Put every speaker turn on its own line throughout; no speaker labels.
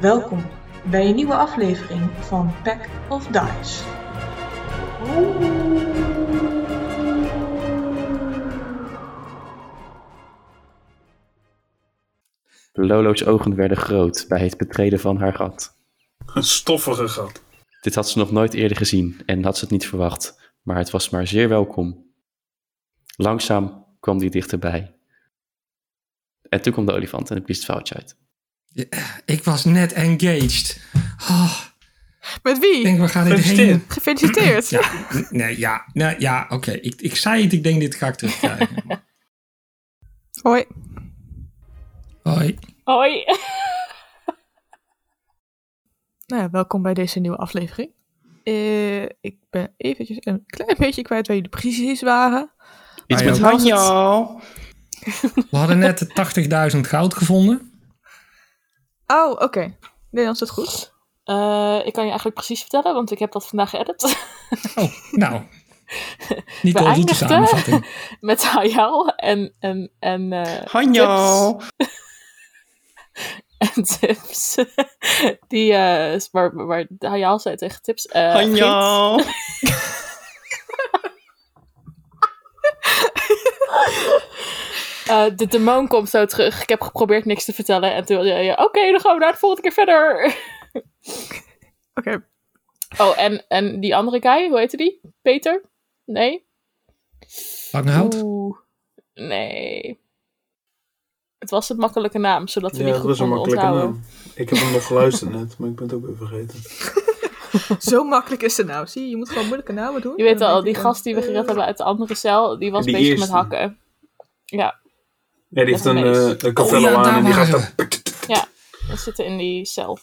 Welkom bij een nieuwe aflevering van Pack of Dice.
Lolo's ogen werden groot bij het betreden van haar gat.
Een stoffige gat.
Dit had ze nog nooit eerder gezien en had ze het niet verwacht, maar het was maar zeer welkom. Langzaam kwam die dichterbij. En toen kwam de olifant en het blies het foutje uit.
Ik was net engaged. Oh,
Met
ik
wie?
denk, waar gaat dit
Gefeliciteerd.
heen?
Gefeliciteerd.
Ja, n- nee, ja, nee, ja oké. Ik, ik zei het, ik denk dit ga ik terugkrijgen.
Hoi.
Hoi.
Hoi.
Nou ja, welkom bij deze nieuwe aflevering. Eh, ik ben eventjes een klein beetje kwijt waar jullie precies waren.
Iets
Ah,
met
ja.
Hanjo!
We hadden net de 80.000 goud gevonden.
Oh, oké. Nee, dan is het goed.
Eh, ik kan je eigenlijk precies vertellen, want ik heb dat vandaag geëdit
Oh, nou. Niet al
Beëindigd,
de
hè?
samenvatting.
met Hayal en, en, en, eh,
Hanjo!
en tips. Die, eh, is waar, waar Hayal zei tegen tips. eh, Giet.
Hanjo!
Eh, de demon komt zo terug. Ik heb geprobeerd niks te vertellen. En toen zei je, oké, dan gaan we daar de volgende keer verder.
Oké.
Oh, en, en die andere guy, hoe heette die? Peter? Nee?
Langhout?
Oeh. Nee. Het was een makkelijke naam, zodat we
Ja,
die
dat
goed
was een
konden
makkelijke
onthouden.
naam. Ik heb hem nog geluisterd net, maar ik ben het ook weer vergeten.
Zo makkelijk is het nou. Zie je, je moet gewoon moeilijke namen doen.
Je weet
Dan
al,
denk
die
je
gast die we
dan,
gered
eh,
hebben uit de andere cel, die was
Die
bezig met
eerste.
hakken.
Ja, die heeft een,
Mees.
eh, een cavello
Oh ja,
aan
daar
en die gaat
waren
dan...
We zitten in die cel.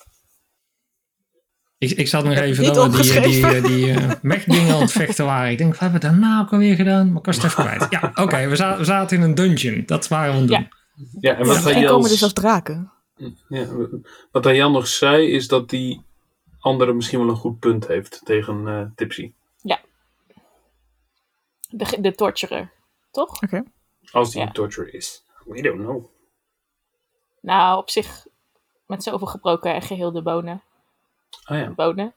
Ik, ik zat nog even
niet
door die, die, die,
opgeschreven.
eh, die eh, mechdingen aan het vechten waren. Ik denk, wat hebben we daarna ook alweer gedaan? Maar ik was het even kwijt. Ja, oké. we, za- we zaten in een dungeon. Dat waren we aan het doen.
Ja, en wat,
Ja,
hij
die komen
als-
dus als draken.
ja, wat hij Jan nog zei, is dat die andere misschien wel een goed punt heeft tegen eh, Tipsy.
De, ge- de torturer, toch?
Als die
Ja.
een torture is. We don't know.
Nou, op zich met zoveel gebroken en geheelde bonen.
Ah ja,
Bonen?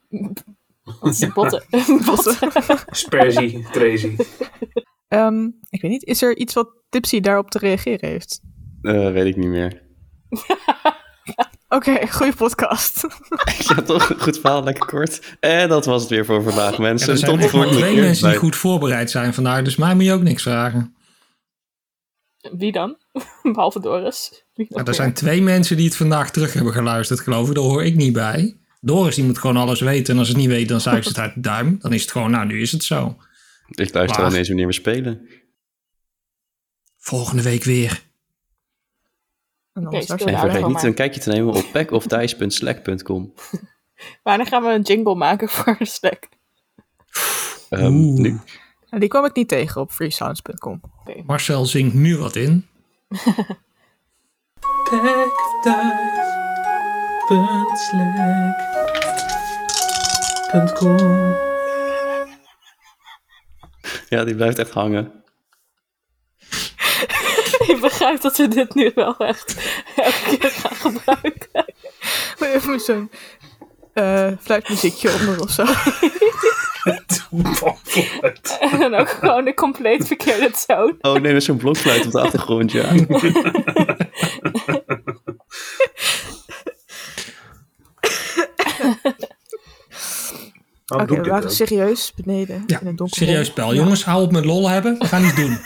Want ze botten. botten.
Spersie, Crazy.
Ehm, ik weet niet, is er iets wat Tipsy daarop te reageren heeft?
Eh, weet ik niet meer.
Oké, goede podcast.
Ja, toch? Goed verhaal, lekker kort. En dat was het weer voor vandaag,
Ja,
mensen.
er zijn
Tot de
echt maar
volgende
twee
keer.
mensen die
Bye.
goed voorbereid zijn vandaag. Dus mij moet je ook niks vragen.
Wie dan? Behalve Doris. Wie nog
Nou, er
meer?
zijn twee mensen die het vandaag terug hebben geluisterd, geloof ik. Daar hoor ik niet bij. Doris, die moet gewoon alles weten. En als ze het niet weet, dan zuigt ze het uit de duim. Dan is het gewoon, nou, nu is het zo.
Ik luister
Maar-
aan deze wanneer we spelen.
Volgende week weer.
En
Oké,
anders
stil
straks
En
daar
vergeet
dan
niet
maar.
een kijkje te nemen op packofdice.slack.com.
Wanneer gaan we een jingle maken voor een stack?
Ehm
Oeh.
nu.
Nou, die kwam ik niet tegen op freesounds.com.
Marcel zingt nu wat in.
Ja, die blijft echt hangen.
Ik begrijp dat we dit nu wel echt elke keer gaan gebruiken.
Maar Even met zo'n eh, fluitmuziekje onder of zo.
En dan ook gewoon de compleet verkeerde toon.
Oh nee, dat is zo'n blokfluit op de achtergrond, ja.
Oké,
Waarom doe ik
we
dit
waren
ook?
serieus beneden
Ja,
in een donker
serieus
hol.
spel. Jongens, hou op met lol hebben. We gaan iets doen.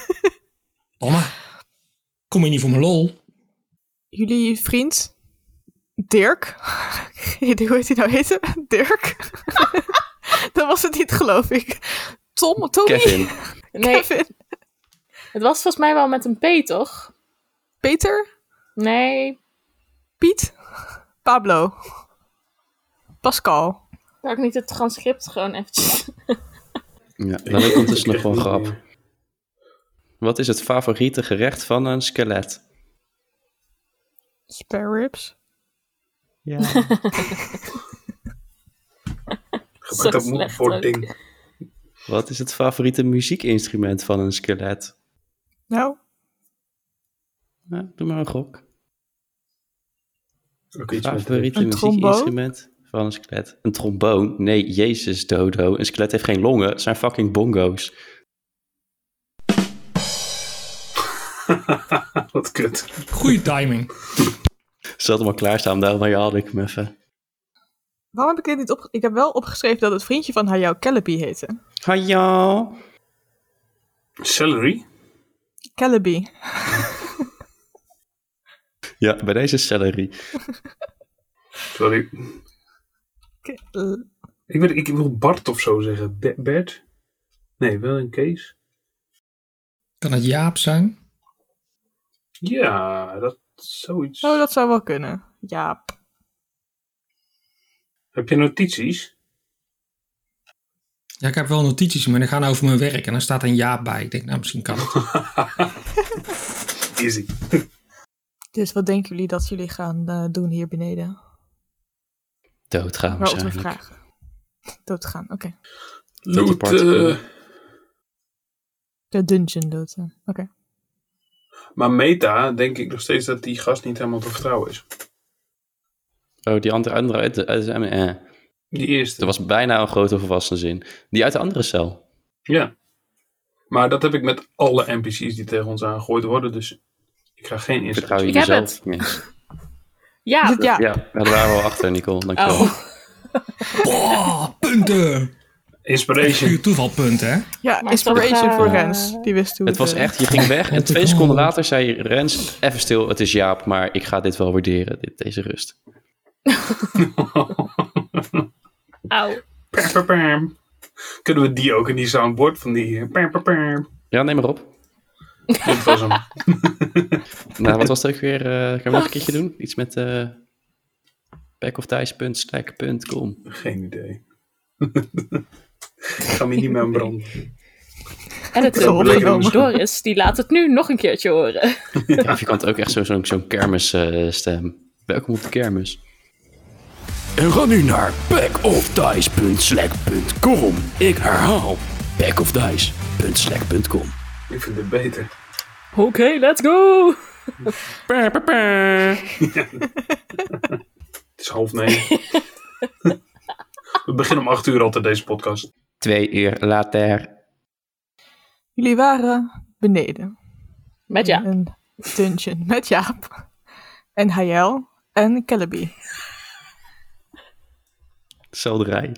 Oma, kom je niet voor mijn lol?
Jullie vriend, Dirk. Geen idee Hoe heet hij nou heten? Dirk. Dat was het niet, geloof ik. Tom, Tommy,
Kevin.
Nee,
Kevin.
het was volgens mij wel met een P, toch?
Peter,
Nee,
Piet, Pablo, Pascal.
kan ik niet het transcript gewoon eventjes...
Ja, dan ook
Ik
ondertussen nog wel
echt
een
niet
grap.
meer.
Wat is het favoriete gerecht van een skelet?
Spare ribs.
Ja.
Zo
Gebruik dat
slecht ook.
moedbord ding.
Wat is het favoriete muziekinstrument van een skelet?
Nou,
Nou, doe maar een gok.
Ook iets met
favoriete
Een
muziekinstrument van een skelet? Een tromboon? Nee, jezus dodo. Een skelet heeft geen longen, het zijn fucking bongo's.
Wat kut.
Goede timing.
Ze hadden hem al klaarstaan, daarom had ik hem even.
Waarom heb ik dit niet opgeschreven? Ik heb wel opgeschreven dat het vriendje van haar jou Callaby heette.
Hallo.
Celery?
Callaby.
Ja, bij deze celery.
Sorry.
Ke- eh,
Ik, weet, ik wil Bart of zo zeggen. Be- Bert? Nee, wel een Kees.
Kan het Jaap zijn?
Ja, dat is zoiets.
Oh, dat zou wel kunnen. Ja.
Heb je notities?
Ja, ik heb wel notities, maar die gaan over mijn werk. En daar staat een Jaap bij. Ik denk, nou, misschien kan het.
Easy.
Dus wat denken jullie dat jullie gaan eh, doen hier beneden?
Doodgaan
Waarop we
waarschijnlijk.
vragen. Dood gaan, oké.
die
Loot,
part-
eh,
De dungeon dood. eh, Oké.
maar Meta, denk ik nog steeds dat die gast niet helemaal te vertrouwen is.
Oh, die andere, andere uit de... uit de- eh,
Die eerste.
Er was bijna een grote volwassene zin. Die uit de andere cel.
Ja. Maar dat heb ik met alle NPC's die tegen ons aangegooid worden. Dus ik ga geen
Vertrouw
instellingen.
je
Ik heb
jezelf
het.
niet eens.
Ja.
Is het ja?
Ja, daar waren we al achter, Nicole. Dankjewel.
Oh.
Boah, punten!
Inspiration.
Puur toevalpunt, hè?
Ja,
Maar
inspiration
toch, eh,
voor Rens. Die wist hoe
Het was
eh,
echt, je ging weg en
Wat
twee
een
seconden
knal.
later zei je, Rens, even stil, het is Jaap, maar ik ga dit wel waarderen, dit, deze rust.
Auw.
Pam, pam, pam. Kunnen we die ook in die soundboard van die... eh, pam, pam, pam?
Ja, neem maar op.
Dit was hem.
Nou, wat was het ook weer? eh kan ik nog een keertje doen? Iets met eh backofdice.slack.com.
Geen idee. ik ga me niet meer aan branden.
En het
Zo
opgenomen.
Doris, die laat het nu nog een keertje horen.
Ja, of je kan het ook echt zo- zo'n zo'n kermis eh, stem. Welkom op de kermis.
En ga nu naar backofdice.slack.com. Ik herhaal backofdice.slack.com.
Ik vind het beter.
Oké, let's go!
Het is half negen. we beginnen om acht uur altijd deze podcast.
Twee uur later.
Jullie waren beneden.
Met ja.
In Een dungeon met Jaap. En Hayel. En Callaby.
Selderij.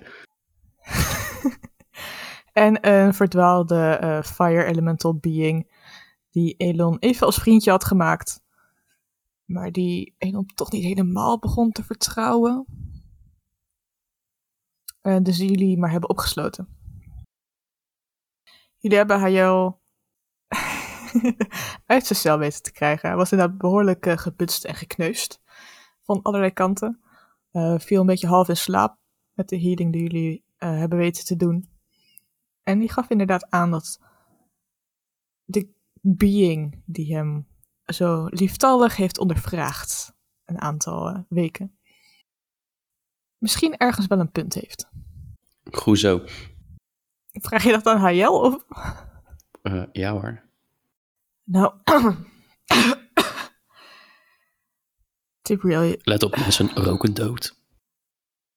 En een verdwaalde eh, fire elemental being. Die Elon even als vriendje had gemaakt. Maar die Elon toch niet helemaal begon te vertrouwen. Eh, dus die jullie maar hebben opgesloten. Jullie hebben Hayel uit zijn cel weten te krijgen. Hij was inderdaad behoorlijk eh, gebutst en gekneusd. Van allerlei kanten. Eh, viel een beetje half in slaap met de healing die jullie eh, hebben weten te doen. En die gaf inderdaad aan dat de being die hem zo lieftallig heeft ondervraagd een aantal eh, weken, misschien ergens wel een punt heeft.
Goed zo.
Vraag je dat aan Hayel of?
Eh, ja hoor.
Nou, Tibriel, je-
Let op mensen, roken dood.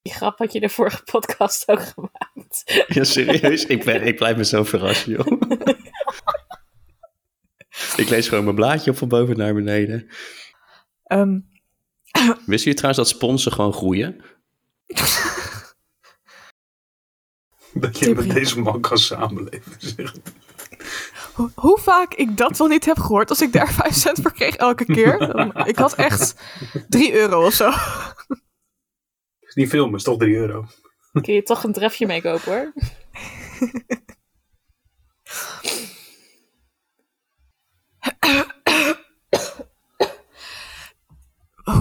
Die grap had je de vorige podcast ook gemaakt.
Ja, serieus? Ik, ben, ik blijf mezelf verrassen, joh. ik lees gewoon mijn blaadje op van boven naar beneden.
ehm,
Wist jullie trouwens dat sponsen gewoon groeien?
Dat je met deze man kan samenleven. zeg.
ho- hoe vaak ik dat wel niet heb gehoord als ik daar 5 cent voor kreeg elke keer. Dan- ik had echt 3 euro of zo.
Die film is toch 3 euro.
Kun je toch een trefje mee kopen hoor.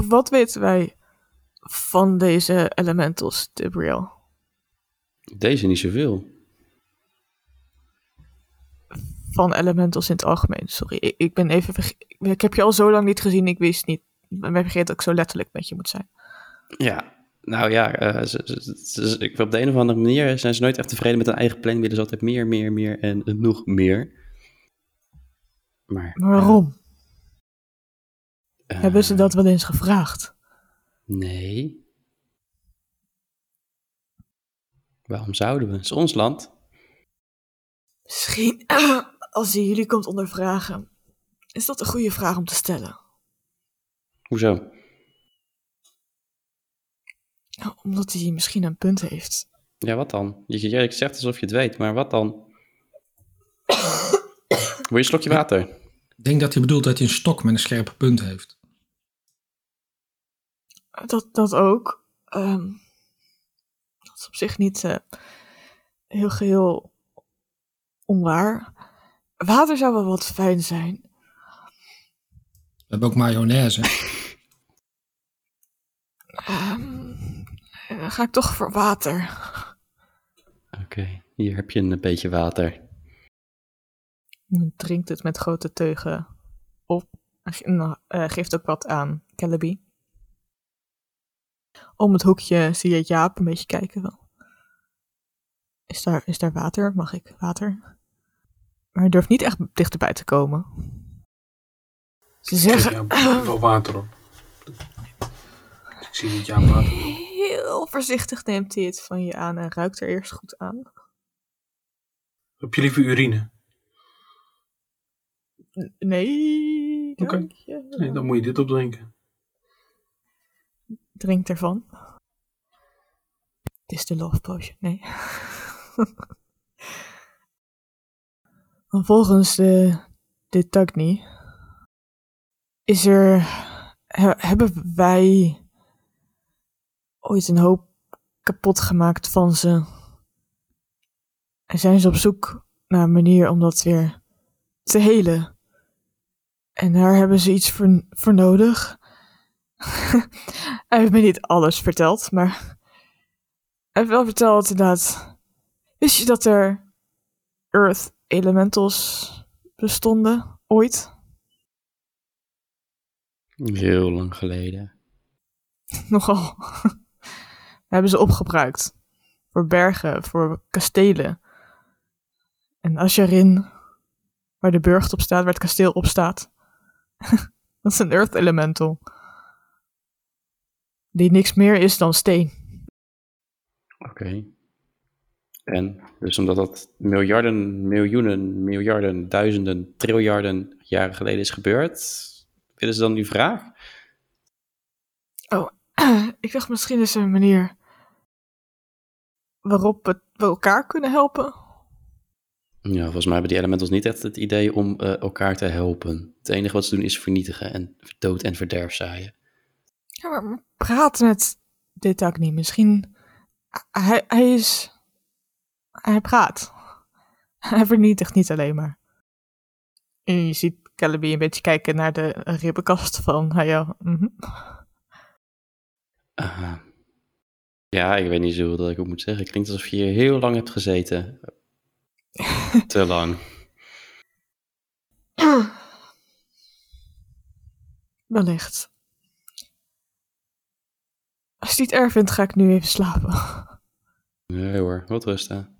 Wat weten wij van deze elementals, Tibriel?
Deze niet zoveel.
Van elementals in het algemeen, sorry. Ik, ik ben even verge- Ik heb je al zo lang niet gezien, ik wist niet. Ik ben vergeten dat ik zo letterlijk met je moet zijn.
Ja, nou ja, eh, ze- ze- ze- ze- ik- op de een of andere manier zijn ze nooit echt tevreden met hun eigen plan. Willen ze altijd meer, meer, meer en nog meer. Maar
Maar waarom?
eh,
Hebben ze dat wel eens gevraagd?
Nee. Waarom zouden we? Het is ons land.
Misschien, als hij jullie komt ondervragen, is dat een goede vraag om te stellen.
Hoezo?
Nou, Omdat hij misschien een punt heeft.
Ja, wat dan? Je, je, je zegt alsof je het weet, maar wat dan? Wil je een slokje water?
Ik denk dat hij bedoelt dat hij een stok met een scherpe punt heeft.
Dat, dat ook. Ehm, dat is op zich niet eh, heel geheel onwaar. Water zou wel wat fijn zijn.
We hebben ook mayonaise.
Ehm, dan ga ik toch voor water.
Oké, hier heb je een beetje water.
Men drinkt het met grote teugen op. En ge- en, eh, geeft ook wat aan Caliby. Om het hoekje zie je Jaap een beetje kijken. Wel. Is, daar, is daar water? Mag ik water? Maar hij durft niet echt dichterbij te komen. Ze zeggen
Ja, wel water op. Ik zie niet aan water.
heel voorzichtig neemt hij het van je aan en ruikt er eerst goed aan.
Heb je liever urine?
Nee,
Oké.
dank je.
Nee, dan moet je dit opdrinken.
Drink ervan. Het is de love potion, nee. En volgens de, de Tagni is er, he- hebben wij ooit een hoop kapot gemaakt van ze. En zijn ze op zoek naar een manier om dat weer te helen. En daar hebben ze iets voor, voor nodig. Hij heeft me niet alles verteld, maar hij heeft wel verteld inderdaad. Wist je dat er Earth Elementals bestonden ooit?
Heel lang geleden.
Nogal. hebben ze opgebruikt. Voor bergen, voor kastelen. En Asherin, waar de burcht op staat, waar het kasteel op staat. dat is een Earth Elemental. Die niks meer is dan steen.
Oké. En dus omdat dat miljarden, miljoenen, miljarden, duizenden, triljarden jaren geleden is gebeurd, willen ze dan die vraag?
ik dacht, misschien is er een manier waarop we we elkaar kunnen helpen.
Ja, volgens mij hebben die elementals niet echt het idee om eh, elkaar te helpen. Het enige wat ze doen is vernietigen en dood en verderf zaaien.
Ja, maar maar praat met dit ook niet. Misschien. Hij, hij is. Hij praat. Hij vernietigt niet alleen maar. En je ziet Caliby een beetje kijken naar de ribbenkast van Hayo. Mhm.
Aha. Ja, ik weet niet zo dat ik het moet zeggen. Klinkt alsof je hier heel lang hebt gezeten. Te lang.
Wellicht. Als je het niet erg vindt, ga ik nu even slapen.
Nee hoor, wat rusten.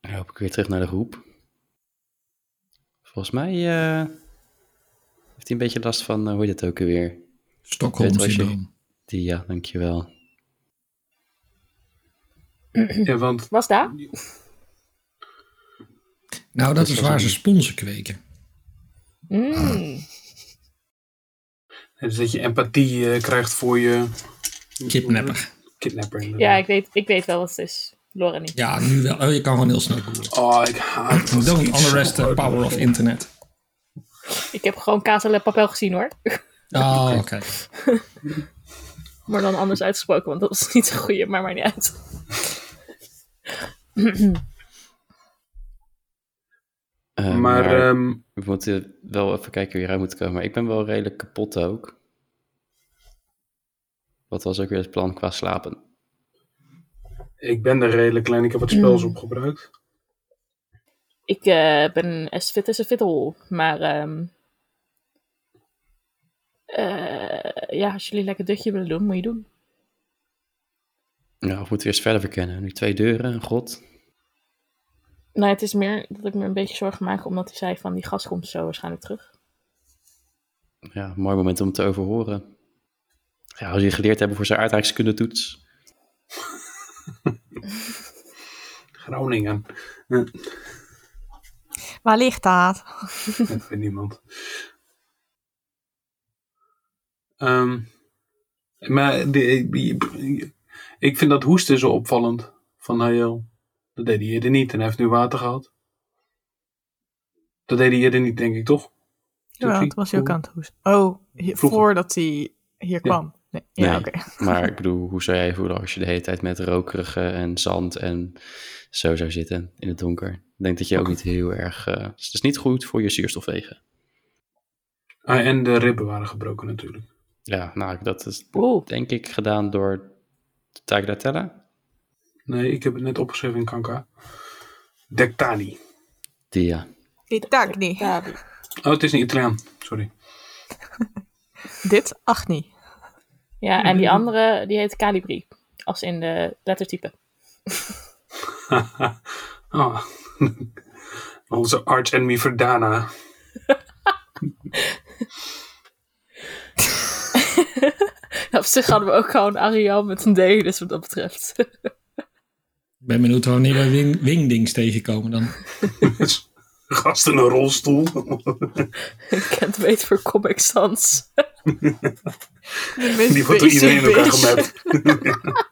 Dan loop ik weer terug naar de groep. Volgens mij eh, heeft hij een beetje last van, eh, hoe heet het ook alweer?
Stockholm-syndroom.
Die, ja, dankjewel.
Ja, want
Was dat?
Nou, dat
Dat
is
was
waar
een-
ze sponsen kweken.
Mm.
het is dat je empathie eh, krijgt voor je...
Kidnapper.
Kidnapper. inderdaad.
Ja, ik weet, ik weet wel wat het is. Laura niet.
Ja, nu wel. Oh, je kan gewoon heel snel googlen.
Oh, ik haat dat.
Don't
Ik zo
underrest the
hard.
power of internet.
Ik heb gewoon kaas en papel gezien hoor.
Oh, oké.
Maar dan anders uitgesproken, want dat was niet zo goede, maar maakt niet uit.
Eh,
Maar ehm,
We moeten wel even kijken hoe je eruit moet komen. Maar ik ben wel redelijk kapot ook. Wat was ook weer het plan qua slapen?
ik ben er redelijk klein. Ik heb wat
Mm.
spels opgebruikt.
Ik eh, ben as fit as a fiddle, maar ehm, eh, ja, als jullie lekker dutje willen doen, moet je doen.
Nou, we moeten eerst verder verkennen. Nu twee deuren, god.
Nou, het is meer dat ik me een beetje zorgen maak, omdat hij zei van die gas komt zo waarschijnlijk terug.
Ja, mooi moment om te overhoren. Ja, als jullie geleerd hebben voor zijn aardrijkskundetoets.
Groningen.
Waar ligt dat?
Dat weet niemand. Ehm, maar die- die- ik vind dat hoesten zo opvallend van Hayel. Dat deed hij eerder niet en hij heeft nu water gehad. Dat deed hij eerder niet, denk ik, toch?
Ja,
Toen-
het was heel kant hoest. Oh, hier-
Vroeger.
voordat hij hier kwam. Nee, ja,
Nee.
oké.
Maar ik bedoel, hoe zou jij voelen als je de hele tijd met rokerige en zand en zo zou zitten in het donker? Ik denk dat je ook niet heel erg... eh, dus het is niet goed voor je zuurstofwegen.
Ah, en de ribben waren gebroken natuurlijk.
Ja, nou, dat is
Oeh.
denk ik gedaan door Tagdatella.
Nee, ik heb het net opgeschreven in Kanka. Dectani.
Die, ja.
Die tak niet.
Ja, die-
Oh, het is een Italiaan. Sorry.
Dit, ach niet.
ja, en die andere, die heet Calibri. Als in de lettertype.
Ah, Onze arch enemy Verdana.
Op zich hadden we ook gewoon Ariel met een D, dus wat dat betreft.
Ik ben benieuwd wanneer we wing, wingdings tegenkomen dan.
Gast in een rolstoel.
Ik ken het weet voor Comic Sans.
De meest
Die wordt door
basic
iedereen in elkaar
bitch.
gemapt.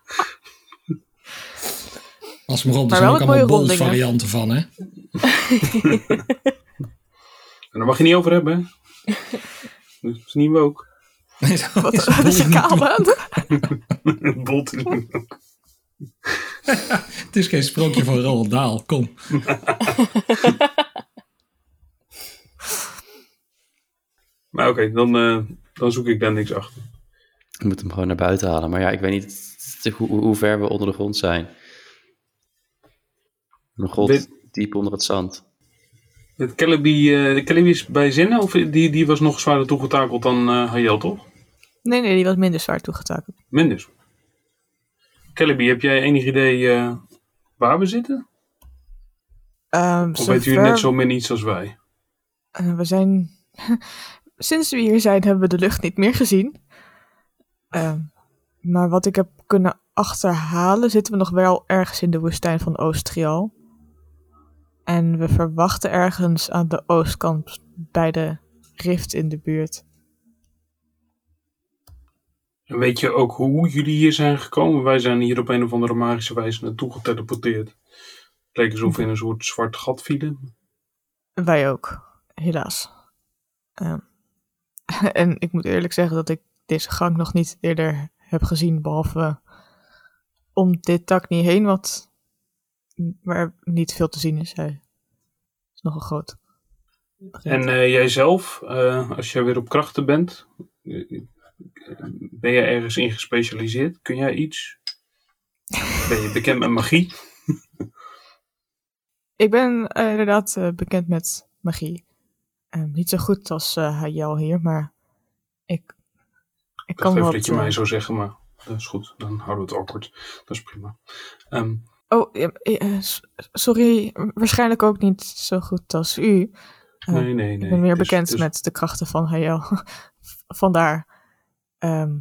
Als we maar op, er
Maar
zijn
wel met
ook allemaal
mooie
bols
rondingen.
varianten van, hè?
En daar mag je niet over hebben, hè? Dat is niet ook.
Wat wat is er kaal aan?
Bolt in
Het is geen sprookje van Roald Daal, kom.
Maar oké, dan, eh, dan zoek ik daar niks achter.
Je moet hem gewoon naar buiten halen. Maar ja, ik weet niet hoe, hoe- hoe ver we onder de grond zijn. Mijn god,
Dit-
diep onder het zand.
Het Celebi, eh, de Celebi is bij zinnen, of die, die was nog zwaarder toegetakeld dan eh Hayel, toch?
Nee, nee, die was minder zwaar toegetakeld.
Minder. Celebi, heb jij enig idee eh, waar we zitten?
Ehm,
Of
zo
weten jullie
ver-
net zo min iets als wij?
Eh, we zijn. Sinds we hier zijn, hebben we de lucht niet meer gezien. Ehm, maar wat ik heb kunnen achterhalen, zitten we nog wel ergens in de woestijn van Oostrial. En we verwachten ergens aan de oostkant bij de rift in de buurt.
En weet je ook hoe jullie hier zijn gekomen? Wij zijn hier op een of andere magische wijze naartoe geteleporteerd. Het leek alsof we in een soort zwart gat vielen.
Wij ook, helaas. Ehm, en ik moet eerlijk zeggen dat ik deze gang nog niet eerder heb gezien, behalve om dit tak niet heen, wat waar niet veel te zien is. Hij is nogal groot.
En eh, jijzelf, eh, als jij weer op krachten bent, eh, ben jij ergens in gespecialiseerd? Kun jij iets? Ben je bekend met magie?
Ik ben eh, inderdaad eh, bekend met magie. Ehm, niet zo goed als eh Hayal hier, maar ik, ik
Ik dacht
kan wel.
even dat je
eh,
mij zou zeggen, maar dat is goed. Dan houden we het awkward. Dat is prima. Ehm,
Oh, ja, eh, s- sorry, waarschijnlijk ook niet zo goed als u. Eh,
nee, nee, nee.
ik ben meer
Het is-
bekend
het is-
met de krachten van Hayel. Vandaar. Ehm,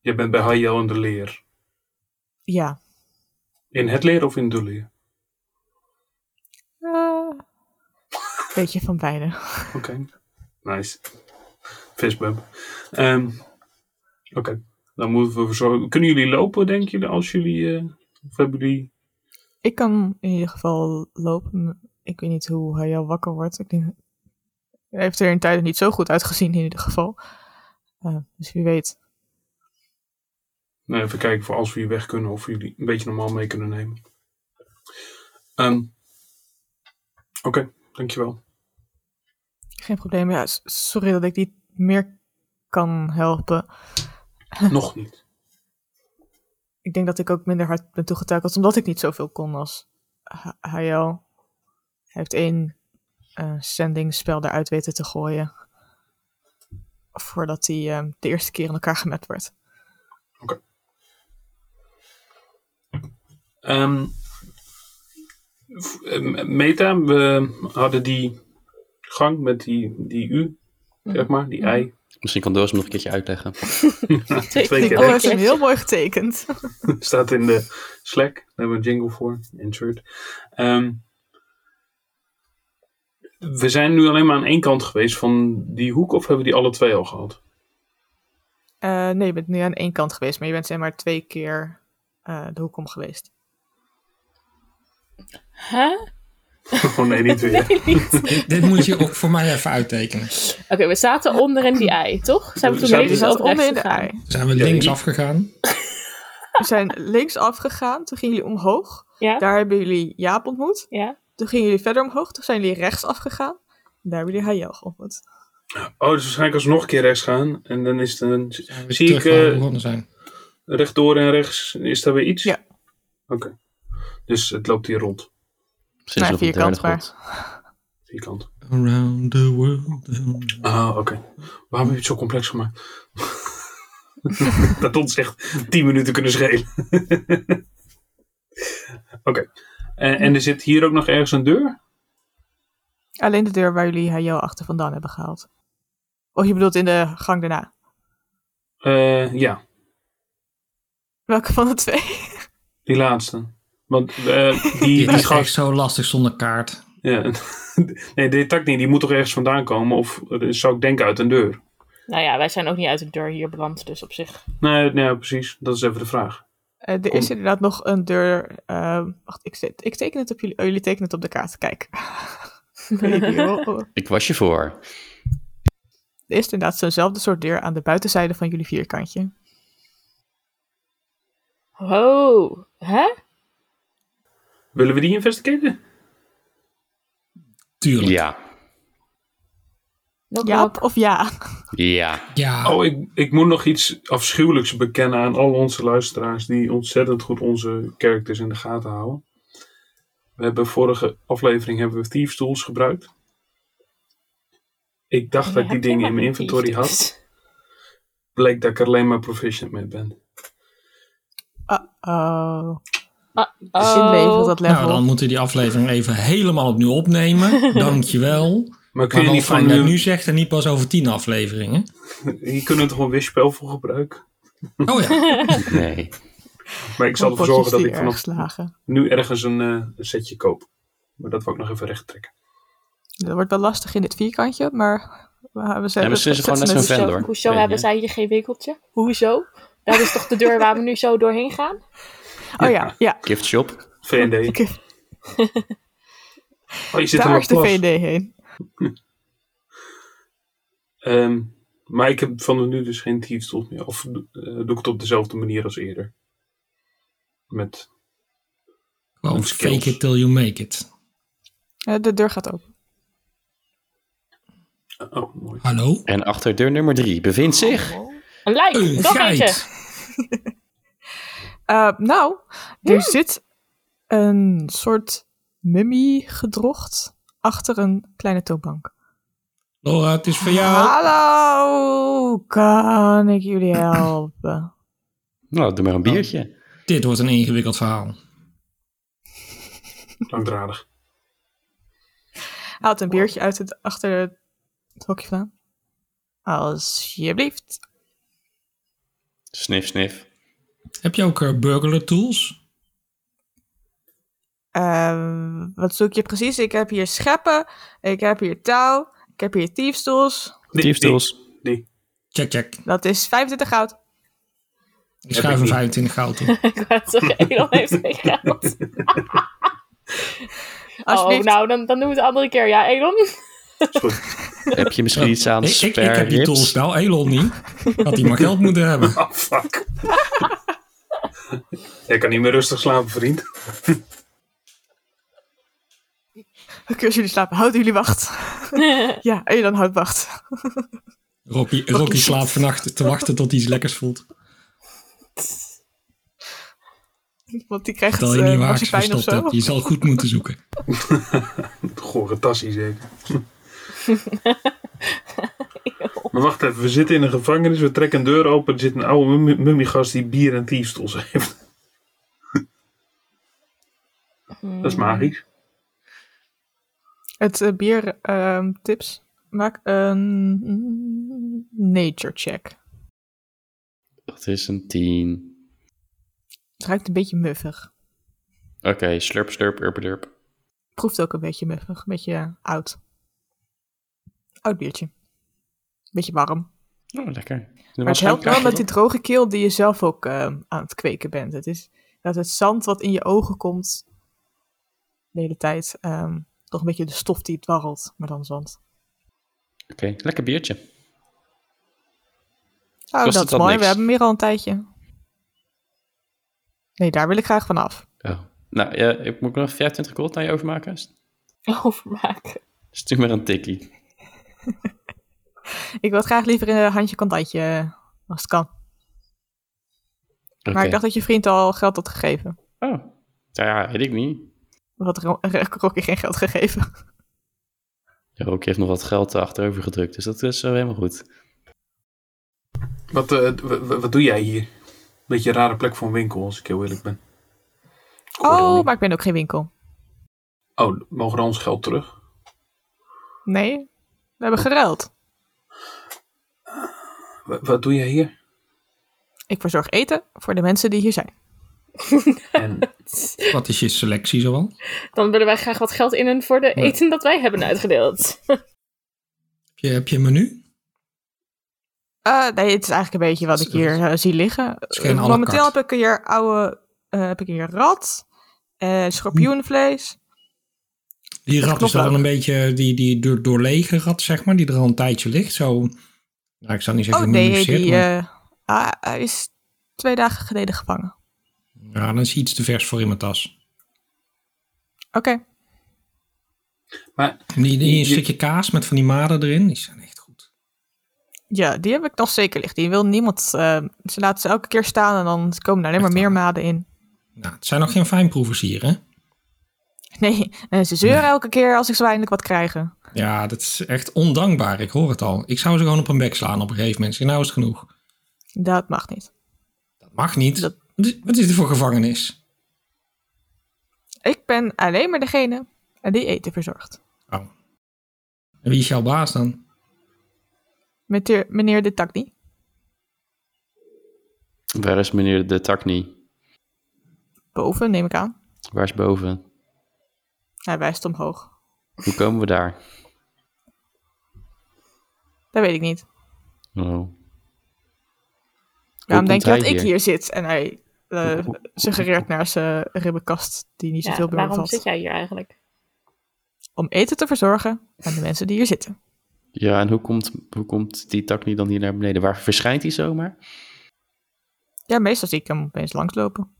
Je bent bij Hayel in de leer.
ja.
In het leer of in de leer?
Eh, beetje van beide.
Oké. Nice. Fistbump. Ehm, Oké. Dan moeten we zorgen. Kunnen jullie lopen, denk je, als jullie. eh, of hebben jullie.
Ik kan in ieder geval lopen. Ik weet niet hoe Hayel wakker wordt. Ik denk, hij heeft er in tijden niet zo goed uitgezien in ieder geval. Eh, dus wie weet.
Nou, even kijken voor als we hier weg kunnen. Of jullie een beetje normaal mee kunnen nemen. Ehm, Oké, dankjewel.
Geen probleem. Ja, s- sorry dat ik niet meer kan helpen.
Nog niet.
Ik denk dat ik ook minder hard ben toegetakeld, omdat ik niet zoveel kon als Ha- Hayao. Hij heeft één eh zendingspel eruit weten te gooien. Voordat hij eh, de eerste keer in elkaar gemet werd.
Ehm, f- eh, Meta, we hadden die gang met die, die U. zeg maar, die ei.
Misschien kan Doris hem nog een keertje uitleggen.
Twee keer.
Oh, hij
hè?
is hem heel mooi getekend.
Staat in de Slack. Daar hebben we een jingle voor. Insert. Ehm, we zijn nu alleen maar aan één kant geweest van die hoek, of hebben we die alle twee al gehad?
Eh, nee, je bent nu aan één kant geweest, maar je bent zeg maar twee keer eh, de hoek om geweest.
Huh?
Oh nee, niet weer.
Dit, dit moet je ook voor mij even uittekenen.
Oké, we zaten onder in die ei, toch? Zijn we
We
Je
zaten-
toen
Dus
links
zat
of
onder
rechts
in de
gegaan?
ei.
Zijn we
Ja,
links
die-
afgegaan?
We zijn links afgegaan, toen gingen jullie omhoog.
Ja?
Daar hebben jullie Jaap ontmoet.
Ja?
Toen gingen jullie verder omhoog, toen zijn jullie rechts afgegaan. En daar hebben jullie Hayel ontmoet.
Oh, dus waarschijnlijk alsnog een keer rechts gaan. En dan is het een...
Zijn we
Zie ik
terug waar we
eh,
begonnen zijn?
rechtdoor en rechts, is daar weer iets?
Ja.
Oké. Dus het loopt hier rond,
Misschien is
Nou,
het nog een
vierkant
derde god.
vierkant.
Around the world.
Ah, oké. Waarom heb je het zo complex gemaakt? dat ons echt 10 minuten kunnen schelen. oké. En, en er zit hier ook nog ergens een deur?
Alleen de deur waar jullie Hayel achter vandaan hebben gehaald. Oh, je bedoelt in de gang daarna.
Eh, ja,
Welke van de twee?
die laatste. Want eh, die,
Dit
die
is echt
gast.
zo lastig zonder kaart.
Ja. nee, de niet. die moet toch ergens vandaan komen? Of eh, zou ik denken uit een deur?
Nou ja, wij zijn ook niet uit de deur hier beland, dus op zich.
Nee, nee, precies. Dat is even de vraag.
Eh, er is inderdaad nog een deur. eh, wacht, ik, zet- ik teken het op jullie. Oh, jullie tekenen het op de kaart. Kijk. Ik weet niet, hoor. Oh,
Ik was je voor.
Er is inderdaad zo'nzelfde soort deur aan de buitenzijde van jullie vierkantje.
Oh, hè?
Willen we die investigeren?
Tuurlijk.
Ja.
Nog wel.
Jaap of ja?
Ja.
Ja,
Oh, ik, ik moet nog iets afschuwelijks bekennen aan al onze luisteraars die ontzettend goed onze characters in de gaten houden. We hebben vorige aflevering hebben we Thieves Tools gebruikt. Ik dacht dat ik die
Heb je
dingen
maar
in mijn
een
inventory
liefde?
had. Bleek dat ik er alleen maar proficient mee ben.
Oh.
Oh.
Zinleven op dat level.
nou dan moeten we die aflevering even helemaal opnieuw opnemen. Dankjewel.
Maar kun je
Maar wel
niet
fijn
van
dat je
nu,
het nu zegt en niet pas over tien afleveringen.
Hier kunnen we toch een wispel voor gebruiken?
Oh ja,
Nee.
Maar ik zal ervoor
Potjes
zorgen dat
die
ik
ergens
vanaf
slagen.
nu ergens een, eh, een setje koop. Maar dat wil ik nog even recht trekken.
Dat wordt wel lastig in dit vierkantje, maar we we
Ja,
zijn
misschien is het gewoon net
zetten
zo'n
het-
vent
Hoezo,
hoor.
hoezo
Weet je.
hebben zij hier geen winkeltje? Hoezo? Dat is toch de deur waar we nu zo doorheen gaan?
Oh ja, ja.
Gift shop.
VND.
Oké.
Oh, je zit er
Daar
wel
is de
plas.
VD heen.
Ehm, maar ik heb van nu dus geen Thieves Tools meer. Of eh, doe ik het op dezelfde manier als eerder? Met.
gewoon
Skills.
fake it till you make it.
Eh, De deur gaat open.
Oh, mooi.
Hallo?
En achter deur nummer drie bevindt zich...
Een lijk,
Een
nog eentje.
geit.
Eh, nou, er zit een soort mummie gedrocht achter een kleine toonbank.
Laura, het is voor
Ah.
jou.
Hallo, kan ik jullie helpen?
Nou, doe maar
Oh.
een biertje.
Dit wordt een ingewikkeld verhaal.
Langdradig.
Haalt een biertje uit het, achter het hokje vandaan. Alsjeblieft.
Snif, snif.
Heb je ook eh, burglar tools?
Ehm, wat zoek je precies? Ik heb hier scheppen, ik heb hier touw, ik heb hier tiefstoels.
Die-
Thieves tools.
Die.
Check, check.
Dat is 25 goud.
Ik
ik
schuif een
niet.
25 goud toe.
Ik wou zeggen, Elon heeft geen geld. Oh,
Alsjeblieft.
nou, dan, dan doen we het andere keer. Ja, Elon?
die. Is goed.
Heb je misschien iets aan
ik, ik, ik
spare
heb die
ribs?
tools wel, Elon niet. Had hij maar geld moeten hebben.
Ah, fuck. Jij kan niet meer rustig slapen, vriend.
Oké, als jullie slapen, houden jullie wacht. ja, en je dan houdt wacht.
Rocky, Rocky slaapt vannacht te wachten tot hij iets lekkers voelt.
Want die krijgt
Terwijl je niet
eh
waar ze
marsepein of
verstopt
zo.
hebt. Je zal goed moeten zoeken.
Gore tassie zeker. maar wacht even, we zitten in een gevangenis, we trekken een deur open. Er zit een oude mummi- mummiegast die bier en Thieves Tools heeft. Dat is magisch.
Het biertips bier eh, ehm, tips Maak een mm, nature check.
Dat is een 10.
Het ruikt een beetje muffig.
Oké, slurp, slurp, urp, durp.
Proeft ook een beetje muffig. Een beetje eh, oud. Oud biertje. Beetje warm.
Oh, lekker.
Maar het helpt wel met die droge keel die je zelf ook eh, aan het kweken bent. Het is dat het zand wat in je ogen komt de hele tijd. ehm, toch een beetje de stof die het dwarrelt, maar dan zand.
Oké, lekker biertje.
Oh,
Kost
dat
het
is
dan
mooi.
niks?
We hebben meer al een tijdje. Nee, daar wil ik graag van af.
Oh. Nou, ja, ik moet ik nog 25 gold naar je overmaken?
Overmaken.
Stuur maar een tikkie.
Ik wil het graag liever in een handje kantantje, eh, als het kan.
Oké.
Maar ik dacht dat je vriend al geld had gegeven.
Oh, nou ja, weet ik niet.
Of had Ro- Rocky geen geld
Oh,
gegeven?
Ja, ook heeft nog wat geld achterover gedrukt, dus dat is eh, helemaal goed.
Wat, eh, w- w- wat doe jij hier? Beetje een rare plek voor een winkel, als ik heel eerlijk ben. hoorde al
Oh,
niet.
maar ik ben ook geen winkel.
Oh, mogen we ons geld terug?
Nee, we hebben geruild.
W- wat doe jij hier?
Ik verzorg eten voor de mensen die hier zijn.
En
Wat is je selectie zoal?
Dan willen wij graag wat geld in en voor de
Ja.
eten dat wij hebben uitgedeeld.
Heb je, heb je een menu?
Eh, nee, het is eigenlijk een beetje wat ik hier eh, zie liggen.
is geen à la
Momenteel
carte.
heb ik hier oude, eh, heb ik hier rat, eh, schorpioenvlees.
Die rat is dat
knoflook.
wel een beetje die, die door, doorlege rat, zeg maar, die er al een tijdje ligt. Zo, nou, ik zal niet
Oh
zeggen
nee,
mumificeerd,
die
maar-
eh, ah, hij is twee dagen geleden gevangen. eh,
Ja, dan is hij iets te vers voor in mijn tas.
Oké,
Die, die een
Je-
stukje kaas met van die maden erin, die zijn echt goed.
ja, die heb ik nog zeker liggen. Die wil niemand. eh, ze laten ze elke keer staan en dan komen er alleen maar
Echt
meer
waar.
maden in.
Nou, het zijn nog geen fijnproevers hier, hè?
Nee, en ze zeuren
Nee.
elke keer als ik zo eindelijk wat krijgen.
Ja, dat is echt ondankbaar, ik hoor het al. Ik zou ze gewoon op hun bek slaan op een gegeven moment. Zeg, nou is het genoeg.
Dat mag niet.
Dat mag niet.
Dat-
Wat is- Wat is dit voor gevangenis?
Ik ben alleen maar degene die eten verzorgt.
Oh. En wie is jouw baas dan?
Meneer, meneer de Takni.
Waar is meneer de Takni?
Boven, neem ik aan.
Waar is boven?
Hij wijst omhoog.
Hoe komen we daar? Oh.
Dat weet ik niet.
Oh.
Waarom denk
komt
je dat
hij
ik
hier?
hier zit? En hij eh,
Hoe- hoe-
suggereert naar zijn ribbenkast die niet
Ja,
zoveel meer
waarom
bevat.
zit jij hier eigenlijk?
Om eten te verzorgen aan de mensen die hier zitten.
Ja, en hoe komt, hoe komt die Takni dan hier naar beneden? Waar verschijnt hij zomaar?
Ja, meestal zie ik hem opeens langslopen.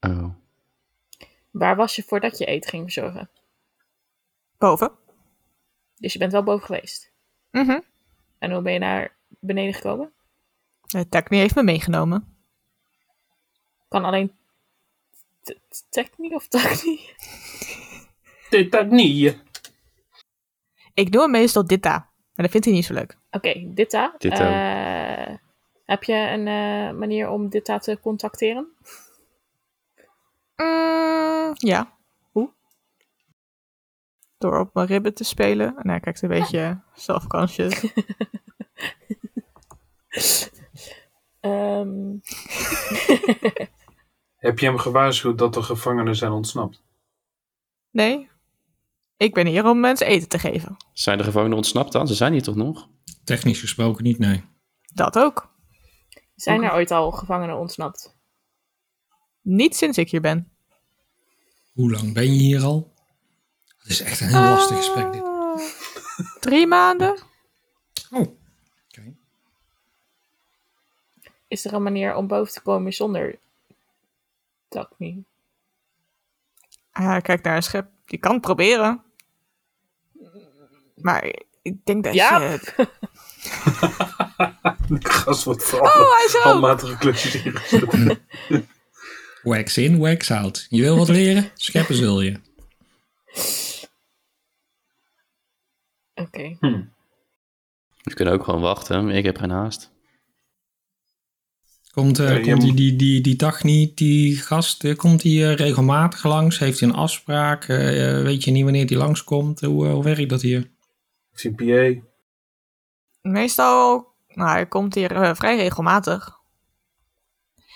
Oh.
Waar was je voordat je eten ging verzorgen?
Boven.
Dus je bent wel boven geweest.
Mhm.
En hoe ben je naar beneden gekomen?
De Takni heeft me meegenomen.
Kan alleen t- t- Techni of Tacni?
dit dat niet.
Ik doe hem meestal dit daar. Maar dat vindt hij niet zo leuk.
Oké, Ditta.
Ditto.
eh, heb je een eh, manier om Ditta te contacteren?
Mm, ja. Hoe? Door op mijn ribben te spelen. En hij kijkt een beetje self-conscious.
Ehm,
Heb je hem gewaarschuwd dat de gevangenen zijn ontsnapt?
Nee. Ik ben hier om mensen eten te geven.
Zijn de gevangenen ontsnapt dan? Ze zijn hier toch nog?
Technisch gesproken niet, nee.
Dat ook.
zijn er ooit al gevangenen ontsnapt?
Niet sinds ik hier ben.
Hoe lang ben je hier al? Het is echt een heel lastig gesprek dit.
Drie maanden?
Oh, oké.
Is er een manier om boven te komen zonder Tacni?
Ah, kijk naar een schep. Die kan het proberen. Maar ik denk dat
Ja.
je...
De gast wordt
Oh,
vooral
hij is er ook.
handmatige klusjes ingezet.
Wax in, wax out. Je wil wat leren? Scheppen zul je.
Oké.
We kunnen ook gewoon wachten. Ik heb geen haast.
Komt, eh,
Ja, je
komt die,
moet-
die, die, die dag niet, die gast, eh, komt die eh, regelmatig langs? Heeft hij een afspraak? Eh, eh, weet je niet wanneer die langskomt? Hoe, eh, hoe werkt dat hier?
Of je een PA.
Meestal, nou, hij komt hier eh, vrij regelmatig.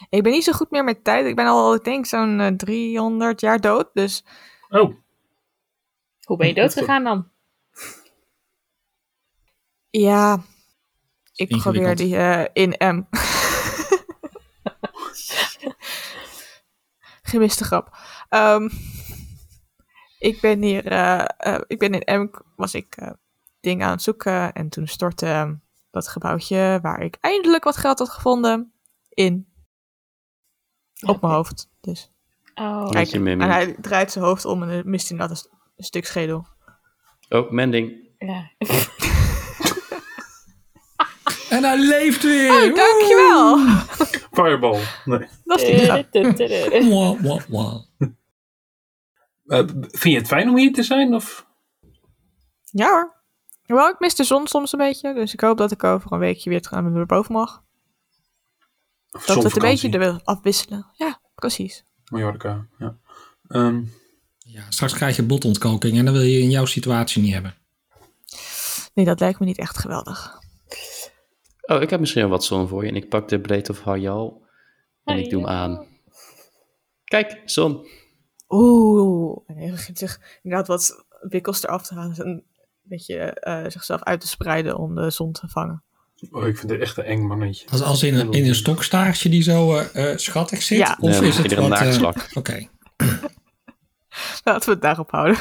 Ik ben niet zo goed meer met tijd. Ik ben al, ik denk, zo'n eh, 300 jaar dood. Dus
Oh,
Hoe ben je dood gegaan dan?
ja, ik
Ingewikkeld.
probeer die eh, in M. Gemiste grap. Ehm, ik ben hier, eh, eh, ik ben in M, was ik eh, dingen aan het zoeken. En toen stortte eh, dat gebouwtje waar ik eindelijk wat geld had gevonden in. Op mijn hoofd, dus.
Oh,
Kijk.
Kijk,
Beetje mimiek.
en hij draait zijn hoofd om en eh, mist inderdaad een, s- een stuk schedel.
Oh, mending.
ja.
En hij leeft weer!
Oh, dankjewel!
fireball. Nee.
Dat is die grap.
Mwah, mwah, mwah.
Eh, b- vind je het fijn om hier te zijn? Of?
Ja hoor. Wel, ik mis de zon soms een beetje, dus ik hoop dat ik over een weekje weer terug naar boven mag.
of
Dat we het een beetje
zonvakantie?
er wel afwisselen. Ja, precies.
Mallorca, ja. Ehm,
Ja, straks krijg je blotontkoking en dat wil je in jouw situatie niet hebben.
Nee, dat lijkt me niet echt geweldig.
Oh, ik heb misschien wel wat zon voor je. En ik pak de Blade of Hayal. En ik doe hem aan. Kijk, zon.
Oeh. En hij begint zich inderdaad wat wikkels eraf te halen. Een beetje eh, zichzelf uit te spreiden om de zon te vangen.
oh, ik vind het echt een eng mannetje.
Als, als in, een, in een stokstaartje die zo eh, eh, schattig zit?
Ja.
Nee,
Of
dan
is
heb
het
je er een
wat... eh,
naaktslak.
Oké.
Laten we het daarop houden.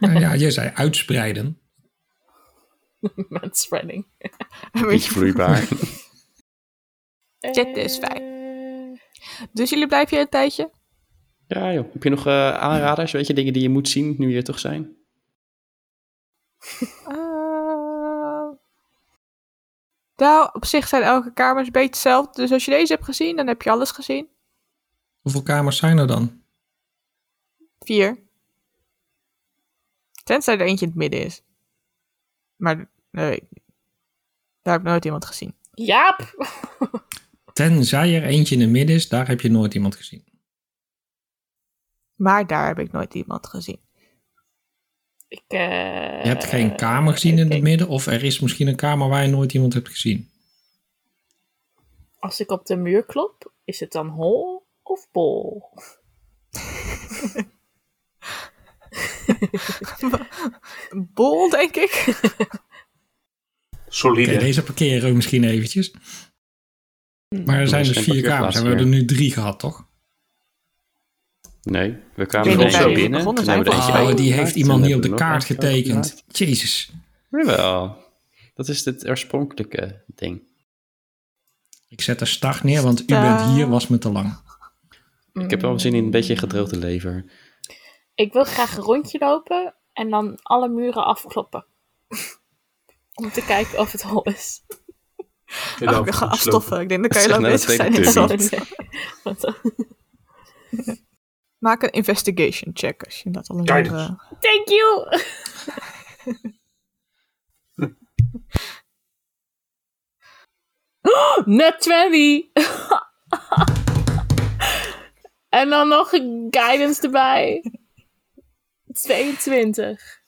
Nou ja, je zei uitspreiden.
Manspreading.
Een
Beetje
beetje
vloeibaar.
Dit is fijn.
Eh,
Dus jullie blijven hier een tijdje?
ja, joh. Heb je nog eh, aanraders? Weet je, dingen die je moet zien nu je er toch zijn?
Eh, Nou, op zich zijn elke kamers een beetje hetzelfde. Dus als je deze hebt gezien, dan heb je alles gezien.
Hoeveel kamers zijn er dan?
Vier. Tenzij er eentje in het midden is. Maar dat weet ik niet. Daar heb ik nooit iemand gezien.
Jaap!
Tenzij er eentje in het midden is, daar heb je nooit iemand gezien.
Maar daar heb ik nooit iemand gezien.
Ik, eh,
Je hebt geen kamer gezien in
oké.
het midden, of er is misschien een kamer waar je nooit iemand hebt gezien.
Als ik op de muur klop, is het dan hol of bol?
Een Bol, denk ik.
Solide.
Oké, deze parkeren we misschien eventjes. Maar er zijn
Er is
dus
geen
vier kamers.
parkeerplaats
En we hebben er nu drie gehad, toch?
Nee, we
Ik
kwamen
weet
er
niet
eentje
waar we
binnen.
begonnen
toen hebben we er
zijn.
eentje
Oh, die
opengemaakt,
heeft
toen
iemand niet op
hebben
de
we er nog
kaart
eentje
getekend.
opengemaakt.
Jezus.
Jawel. Dat is het oorspronkelijke ding.
Ik zet de start neer, want u
Sta-
bent hier was me te lang.
Ik heb wel zin in een beetje gedroogde lever.
Mm.
Dus
Ik wil graag een rondje lopen en dan alle muren afkloppen. Om te kijken of het hol is.
Heel
Oh, ik ben
over
gaan
geslopen.
afstoffen. Ik denk, dan kan je
Zeg
lang
nou,
bezig
dat
zijn in
weet ik
zand.
natuurlijk
Want dan-
Maak een investigation check als je dat al een eh,
Guidance.
andere-
Thank you! Net 20! en dan nog een guidance erbij. 22.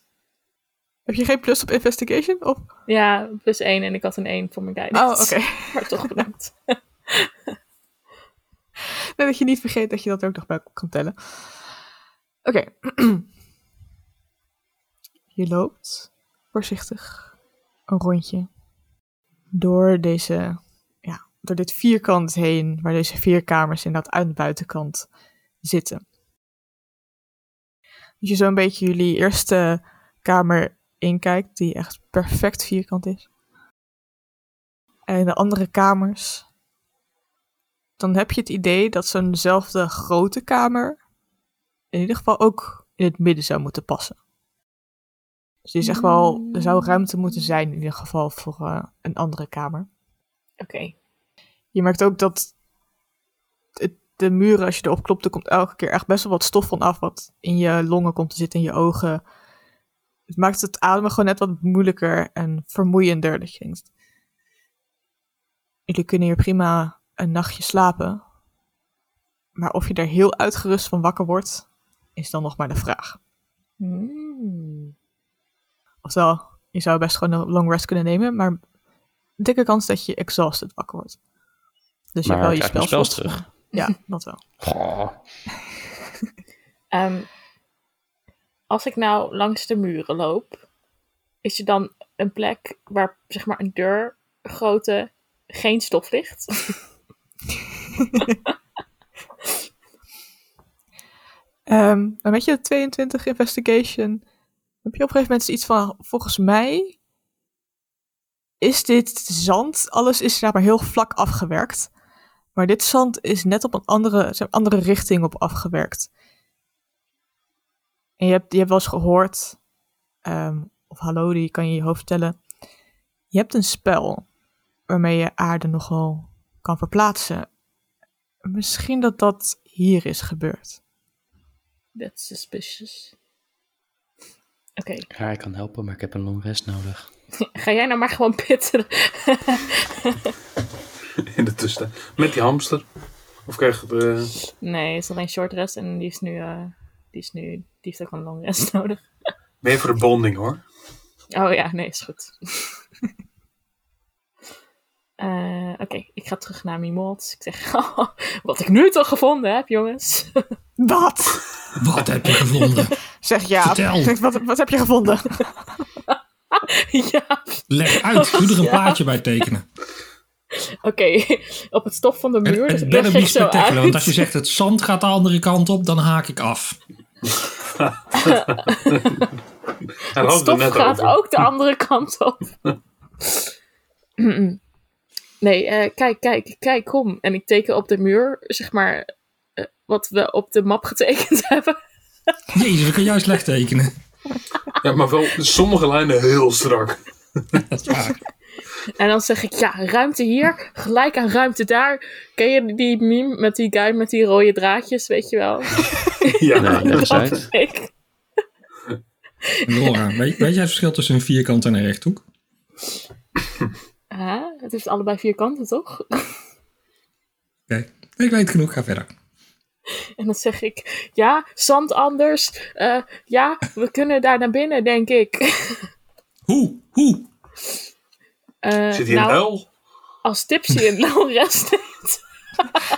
Heb je geen plus op investigation? Of...
Ja, plus 1 en ik had een 1 voor mijn guidance.
Oh, oké.
Maar toch bedankt.
Nee, dat je niet vergeet dat je dat ook nog bij kan tellen. Oké. je loopt voorzichtig een rondje door deze, ja, door dit vierkant heen, waar deze vier kamers inderdaad aan de buitenkant zitten. Als je zo'n beetje jullie eerste kamer inkijkt, die echt perfect vierkant is. En de andere kamers, dan heb je het idee dat zo'nzelfde grote kamer in ieder geval ook in het midden zou moeten passen. Dus die is echt wel, er zou ruimte moeten zijn in ieder geval voor eh, een andere kamer.
Oké.
Je merkt ook dat het- de muren, als je erop klopt, er komt elke keer echt best wel wat stof van af wat in je longen komt te zitten, in je ogen. Het maakt het ademen gewoon net wat moeilijker en vermoeiender. Dat je denkt, jullie kunnen hier prima een nachtje slapen. Maar of je daar heel uitgerust van wakker wordt, is dan nog maar de vraag.
Hmm.
Oftewel, je zou best gewoon een long rest kunnen nemen, maar dikke kans dat je exhausted wakker wordt. Dus je
Maar
hebt wel je
krijg ik mijn
spelslot.
spels terug?
Ja, dat wel.
Goh.
Ehm, als ik nou langs de muren loop, is er dan een plek waar zeg maar een deur grootte geen stof ligt?
Ehm, maar weet je, de 22 investigation. Heb je op een gegeven moment iets van, volgens mij is dit zand. Alles is daar maar heel vlak afgewerkt. Maar dit zand is net op een andere, zijn andere richting op afgewerkt. En je hebt, je hebt wel eens gehoord, ehm, of hallo, die kan je in je hoofd tellen. Je hebt een spel waarmee je aarde nogal kan verplaatsen. Misschien dat dat hier is gebeurd.
That's suspicious. Oké,
Ja, ik kan helpen, maar ik heb een long rest nodig.
ga jij nou maar gewoon pitten.
In de tussentijd. Met die hamster. Of krijg je eh, de...
nee, het is alleen short rest en die is nu, eh, die is nu, die heeft ook een long rest nodig.
Ben je voor de bonding hoor.
Oh ja, nee, is goed. Eh, Oké, ik ga terug naar Mimold. Ik zeg, "Oh, wat ik nu toch gevonden heb, jongens.
Wat?
Wat heb je gevonden?
Zeg ja.
Vertel.
Zeg, wat, wat heb je gevonden?
ja,
Leg uit, doe er een plaatje bij tekenen.
Oké, op het stof van de
En
muur. Dus
het
ik leg
better be
ik zo uit.
spectacular, want als je zegt het zand gaat de andere kant op, dan haak ik af.
Hij
het
had het er
stof
net
gaat
over.
ook de andere kant op. nee, eh, kijk, kijk, kijk, kom. En ik teken op de muur, zeg maar, eh, wat we op de map getekend hebben.
Jezus, ik kan juist slecht tekenen.
Ja, maar wel sommige lijnen heel strak.
Dat is waar.
En dan zeg ik, ja, ruimte hier, gelijk aan ruimte daar. Ken je die meme met die guy met die rode draadjes, weet je wel?
Ja.
Nee, leg eens
Dat
uit.
ben ik.
Laura, weet, weet jij het verschil tussen een vierkant en een rechthoek?
Huh? Het is allebei vierkanten, toch?
Oké, ik weet genoeg, ga verder.
En dan zeg ik, ja, zand anders. Eh, ja, we kunnen daar naar binnen, denk ik.
Hoe? Hoe?
Eh,
Zit hier
nou,
een uil?
Als tipsy een nou rest neemt.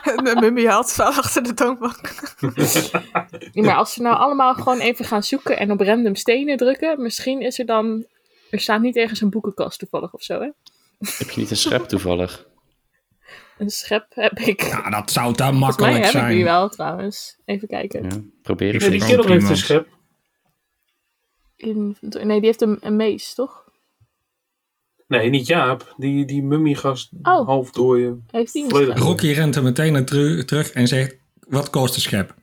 Een mummie had wel achter de toonbank.
Nee, maar als ze nou allemaal gewoon even gaan zoeken en op random stenen drukken, misschien is er dan... Er staat niet ergens een boekenkast toevallig of zo, hè?
Heb je niet een schep toevallig?
Een schep heb ik.
Ja, dat zou daar
Volgens mij
makkelijk
heb ik
zijn.
die wel, trouwens. Even kijken.
Ja, probeer
Ik
het
Nee, die
wel
kerel heeft
prima.
een schep.
In- nee, die heeft een, een mees, toch?
Nee, niet Jaap. Die, die mummiegast
Oh.
half door je.
Heeft die een
Volledig.
schep?
Rocky rent er meteen naar teru- terug en zegt, wat kost een schep?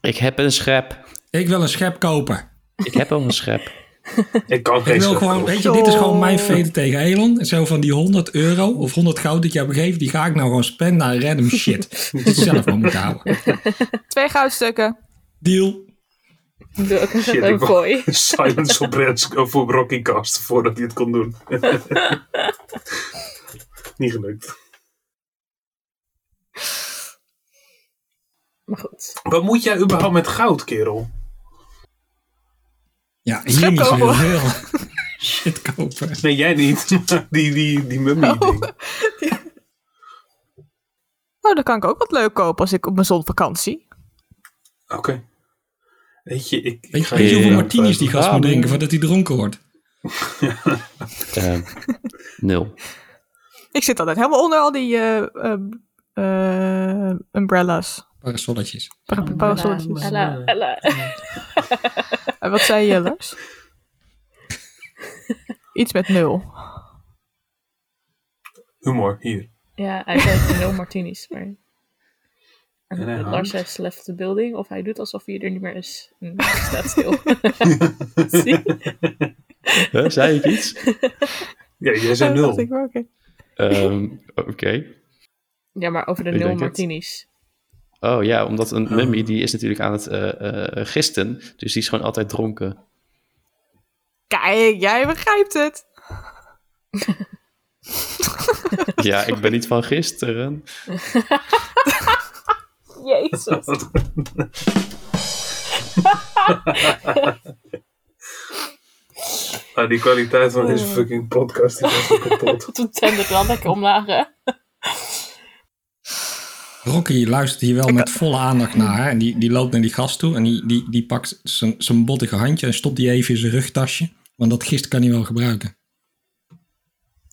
Ik heb een schep.
Ik wil een schep kopen.
Ik heb al een schep.
Ik kan geen
Ik wil
schep
gewoon,
kopen.
weet je, dit is gewoon mijn vete tegen Elon. Zo van die 100 euro of 100 goud dat je hebt gegeven, die ga ik nou gewoon spenden aan random shit. Dat is zelf wel moeten houden.
Twee goudstukken.
Deal.
Doe ook
Shit,
een
ik wou-
kooi.
Silence op Reds voor Rocky Cast voordat hij het kon doen. Niet gelukt.
Maar goed.
Wat moet jij überhaupt met goud, kerel?
Ja, hier
Schep
niet zo heel
kopen.
veel. Shit kopen.
Nee, jij niet. maar die, die, die mummie.
Oh.
ding.
Nou, dan kan ik ook wat leuk kopen als ik op mijn zonvakantie.
Oké. Weet je, eh, ik.
Weet je, weet je hoeveel
Ja,
martinis die gast
ja,
moet
maar-
drinken voordat hij dronken wordt?
Ehm, nul.
Ik zit altijd helemaal onder al die eh, ehm, eh, umbrellas.
Parasolletjes.
Par- par- parasolletjes.
Ella, Ella.
En wat zei je, Lars? Iets met nul.
Humor, hier.
Ja, hij heeft nul martinis, maar... En
hij
Lars
hangt.
heeft left the building, of hij doet alsof hij er niet meer is. En hij staat stil. Zie?
Huh, zei ik iets?
Ja, jij zei
Dat dacht
nul.
ik wel, oké.
Ehm, Oké.
Ja, maar over de
Ik
nul
denk het.
martinis.
Oh ja, omdat een mummie die is natuurlijk aan het eh, eh, gisten. Dus die is gewoon altijd dronken.
Kijk, jij begrijpt het.
Ja, ik ben niet van gisteren.
Jezus.
Oké, Ah, die kwaliteit van
Oh.
deze fucking podcast die was kapot.
Toen tende ik wel lekker omlaag, hè?
Rocky luistert hier wel met volle aandacht naar. Hè? En die, die loopt naar die gast toe en die, die, die pakt zijn- zijn bottige handje en stopt die even in zijn rugtasje. Want dat gist kan hij wel gebruiken.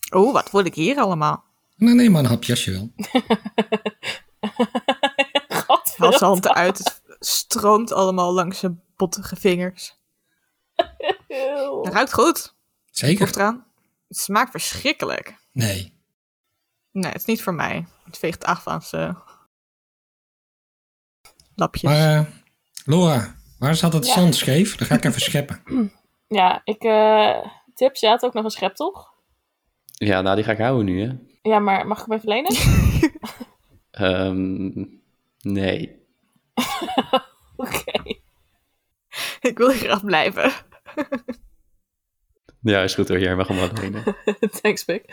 Oh, wat word ik hier allemaal?
Nou, neem maar een hapje als je wil.
Haal zijn
Godverdomme.
hand eruit, het stroomt allemaal langs zijn bottige vingers. Het ruikt goed,
Zeker?
proeft eraan. Het smaakt verschrikkelijk.
Nee.
Nee, het is niet voor mij. Het veegt af aan zijn lapjes.
Maar eh, Laura, waar zat het
Ja.
zand scheef? Dan ga ik even scheppen.
Ja, ik... eh tips, jij had ook nog een schep, toch?
Ja, nou, die ga ik houden nu, hè.
Ja, maar mag ik hem even lenen?
Ehm, nee.
Oké.
Ik wil hier graag blijven.
Ja, is goed hoor, jij mag hem wel lenen.
Thanks, Pik.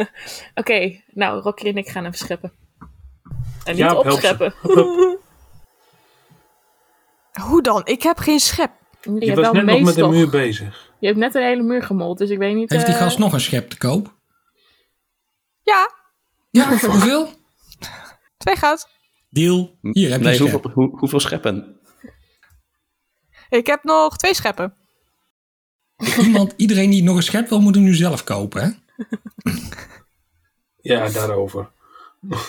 Oké, nou, Rocky en ik gaan even scheppen. En niet
Jaap, help ze.
opscheppen.
Hoe dan? Ik heb geen schep.
Je,
Die
hebt
was net
wel
nog met de
meestal-
muur bezig.
Je hebt net een hele muur gemold, dus ik weet niet...
Heeft die
eh,
gast nog een schep te koop?
Ja,
Ja, voor hoeveel?
twee goud.
Deal. Hier heb je
nee,
een
hoeveel,
schep.
hoe, hoeveel scheppen?
Ik heb nog twee scheppen.
Iemand, iedereen die nog een schep wil, moet hem nu zelf kopen, hè?
Ja, daarover.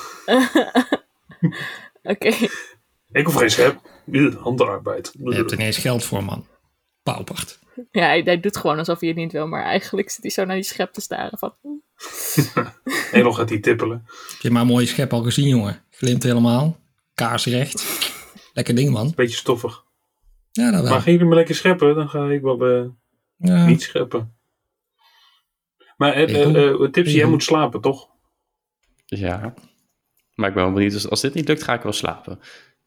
Oké,
Ik hoef geen schep. Ugh, Handenarbeid.
Je hebt er niet eens geld voor, man. Paupert.
ja, hij, hij doet gewoon alsof hij het niet wil, maar eigenlijk zit hij zo naar die schep te staren van... "Hm,
Elon gaat die tippelen.
Heb je maar een mooie schep al gezien, jongen? Glimt helemaal. Kaarsrecht. Lekker ding, man.
Beetje stoffig.
Ja, dat wel.
Maar gaan jullie maar lekker scheppen, dan ga ik wel eh,
Ja.
niet scheppen. Maar eh, eh, eh, Tipsy, jij moet slapen, toch?
Ja. Maar ik ben wel benieuwd, dus als, als dit niet lukt, ga ik wel slapen.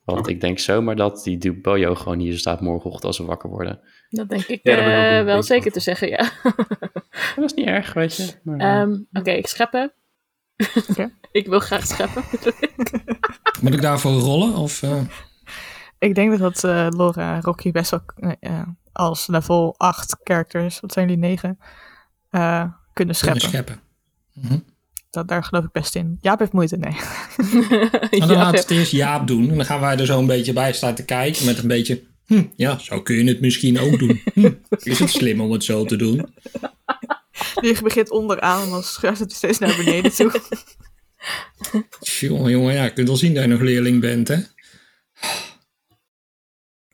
Want
Oké.
ik denk zomaar dat die Duboyo gewoon hier staat morgenochtend als we wakker worden.
Dat denk ik
Ja, dat ben ik ook
eh,
een
wel
beetje
zeker
bang
te zeggen, ja.
Maar Dat is niet erg, weet je. Maar, eh,
Ehm, Oké, ik scheppen.
Oké.
ik wil graag scheppen.
Moet ik daarvoor rollen? Of, eh,
Ik denk dat dat eh, Laura en Rocky best wel nee, eh, als level 8 characters, wat zijn die 9, eh, kunnen
kunnen
scheppen.
scheppen.
Dat, daar geloof ik best in. Jaap heeft moeite, nee.
Maar dan laten
ja,
we het eerst Jaap doen. En dan gaan wij er zo een beetje bij staan te kijken. Met een beetje... Hm, ja, zo kun je het misschien ook doen. Hm, is het slim om het zo te doen?
Die begint onderaan en dan schuift het steeds naar beneden toe.
Jongen, jongen, ja, je kunt wel zien dat je nog leerling bent, hè?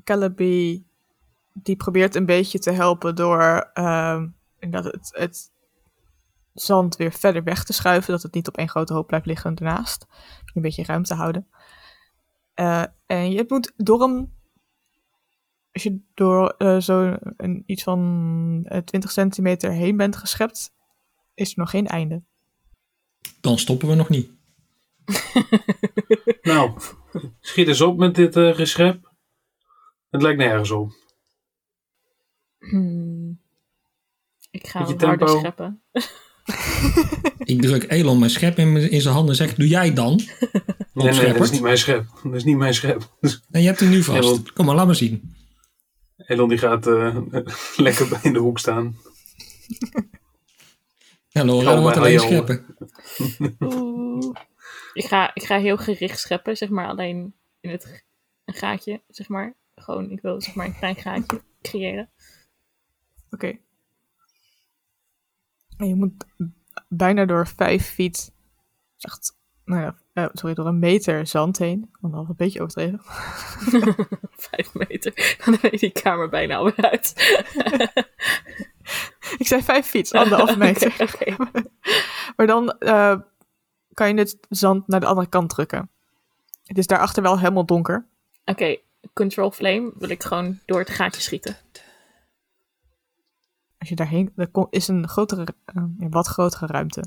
Calibi, die probeert een beetje te helpen door ehm, inderdaad het, het zand weer verder weg te schuiven, dat het niet op één grote hoop blijft liggen daarnaast. Een beetje ruimte houden. Eh, en je moet door hem, als je door eh, zo een, iets van eh, 20 centimeter heen bent geschept, is er nog geen einde.
Dan stoppen we nog niet.
Nou, schiet eens op met dit eh, geschep. Het lijkt nergens op.
Hmm. Ik ga
Beetje
hem harder
tempo.
scheppen.
Ik druk Elon mijn schep in, mijn- in zijn handen en zeg, doe jij dan?
Nee, nee, dat is
Ontschepperd.
niet mijn schep. Dat is niet mijn schep.
Nee, je hebt hem nu vast.
Elon.
Kom maar, laat maar zien.
Elon die gaat eh, lekker bij in de hoek staan.
Ja,
Kom
Laura,
maar,
dan wordt alleen
Elon.
scheppen.
Oeh. Ik ga, ik ga heel gericht scheppen, zeg maar. Alleen in het g- een gaatje, zeg maar. Gewoon, ik wil zeg maar een klein gaatje creëren.
Oké. En je moet bijna door vijf feet, echt, nou ja, eh, sorry, door een meter zand heen. Anderhalf een beetje overdreven.
Vijf meter. Dan ben je die kamer bijna alweer uit.
Ik zei vijf feet, anderhalf meter.
Oké, oké.
maar dan eh, kan je het zand naar de andere kant drukken. Het is daarachter wel helemaal donker.
Oké, control flame wil ik gewoon door het gaatje schieten.
Als je daarheen, er ko- is een grotere, eh, een wat grotere ruimte